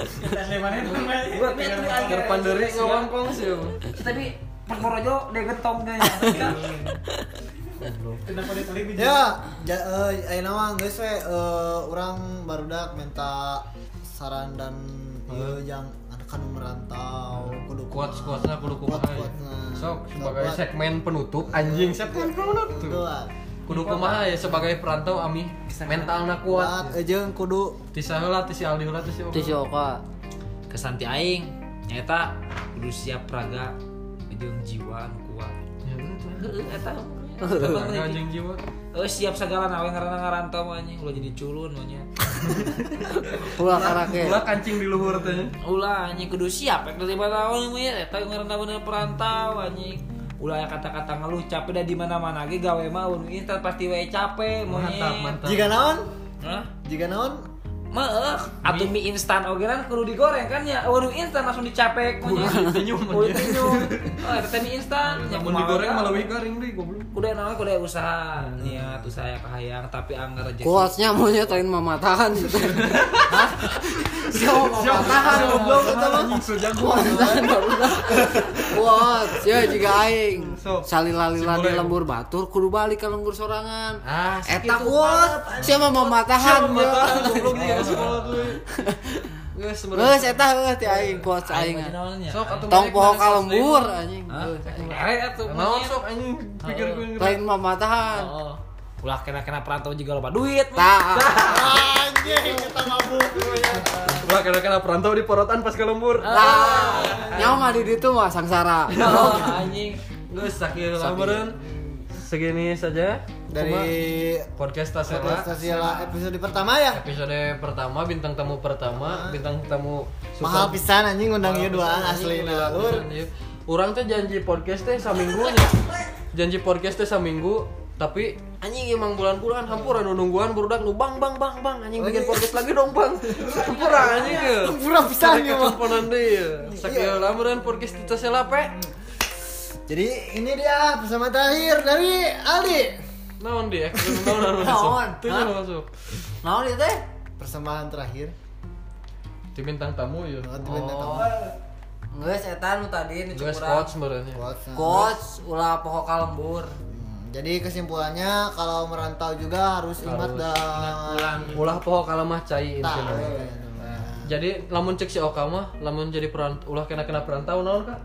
S3: Kita mana itu?
S6: Gua mikir tuh aing
S2: Gerpan
S3: Eh,
S2: deuri ngawangkong sih.
S6: tapi Perkorojo dia gentong guys.
S3: Kenapa diteliti?
S1: ya ja, eh, ayeuna mah geus we eh, urang barudak minta saran dan ieu yang anak anu merantau kudu
S2: Kuat kuatnya kudu kumaha.
S1: kuat kuatna
S2: Sok sebagai segmen penutup anjing segmen penutup. Kudu kumaha ya sebagai perantau ami mentalna
S1: kuat eh,
S2: kuat.
S1: jeung kudu
S2: Tisah heula ti si Aldi heula ti si Oka.
S5: itu siapa
S8: Kesanti aing nyata kudu siap raga jeung jiwa nu kuat.
S2: Ya, itu.
S6: Heeh eta.
S2: Raga anjing jiwa.
S6: Eh siap segala nawe ngarana ngarantau anjing ulah jadi culun mah nya.
S5: ulah karake
S2: Ulah kancing di luhur teh.
S6: Ulah anjing kudu siap rek lima tahun mah ya eta ngarantau bener perantau anjing. Ulah aya kata-kata ngeluh capek dah di mana-mana ge gawe mah mun intan pasti wae capek monyet.
S2: Mantap, mantap.
S1: jika naon
S6: Hah?
S1: jika naon
S6: Meuh, atuh mie instan oge kan kudu digoreng kan ya. Waduh instan langsung dicapek monyet.
S2: Senyum
S6: Kulit nyum. Oh, eta teh mie instan.
S2: Namun
S6: kumaha
S2: digoreng
S6: kan.
S2: malah lebih garing deh goblok.
S6: Kudu naon kudu aya usaha. Niat usaha kahayang tapi anggar rezeki.
S5: kuatnya maunya lain mamatahan gitu Hah? siapa mamatahan goblok
S2: Tahan, anjing sejago.
S5: kuat ya jika aing
S2: Sok.
S5: salila-lila di
S2: Simbolnya.
S5: lembur batur kudu balik ke lembur sorangan
S2: Ah,
S5: eta kuat siapa mamatahan ya
S2: goblok dia sekolah tuh. Geus
S5: Geus eta heuh ti aing kuat aing.
S2: Sok atuh
S5: Tong
S2: balik
S5: poho
S2: mana
S5: ka
S2: sos
S5: lembur
S2: leuweung.
S5: anjing. Geus, anjing.
S6: Eret atuh.
S2: Naon
S6: monyet.
S2: sok anjing pikir gue ngerti.
S5: Lain mamatahan.
S6: Oh. Ulah kena-kena perantau juga loba duit.
S5: Tah.
S1: anjing kita mabuk
S2: Ulah kena-kena perantau di porotan pas ke lembur.
S5: Ah. Tah. Nyawa mah di ditu mah sangsara.
S6: Oh, anjing.
S2: Geus sakit lamureun. Segini saja
S1: dari
S2: podcast Tasela.
S1: Stasila episode pertama ya
S2: Episode pertama bintang tamu pertama, bintang tamu
S1: mahal
S2: super-
S1: pisan anjing ngundang
S2: Mahal
S1: ieu duaan
S2: pisan,
S1: asli
S2: anjing,
S1: nah
S2: mahal pisan, iya. Urang teh janji podcast teh saminggunya. janji podcast teh saminggu tapi anjing emang bulan-bulan hampura nu nungguan burudak nu bang bang bang bang anjing bikin podcast lagi dong bang hampura anjing ya
S1: Hampura pisan,
S2: ya
S1: ya, Bang.
S2: teleponan deui ya sakieu lamunan podcast kita selape
S1: jadi ini dia bersama terakhir dari Aldi
S2: naon dia naon naon masuk
S5: Naon?
S2: teu nya masuk
S5: Naon ieu teh?
S1: persembahan terakhir
S2: di bintang tamu ya
S1: Banget bintang tamu.
S5: Geus eta nu tadi nu
S2: Guys,
S5: cukuran.
S2: coach sebenarnya.
S1: Quotes, nah.
S5: Coach ulah poho ka lembur.
S1: Hmm, jadi kesimpulannya kalau merantau juga harus ingat dan
S2: Ulah poho kalamah cai
S1: Tak,
S2: intinya.
S1: eh,
S2: Jadi lamun cek si Oka mah, lamun jadi perant ulah kena kena perantau naon kak?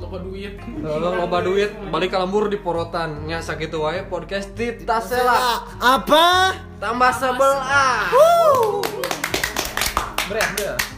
S3: loba duit
S2: Lo loba duit balik kalembur di porotan nya sakitu wae podcast Tita Sela
S1: Apa?
S2: ah. tambah sebelah.
S1: Wuh.
S2: Beres, beres.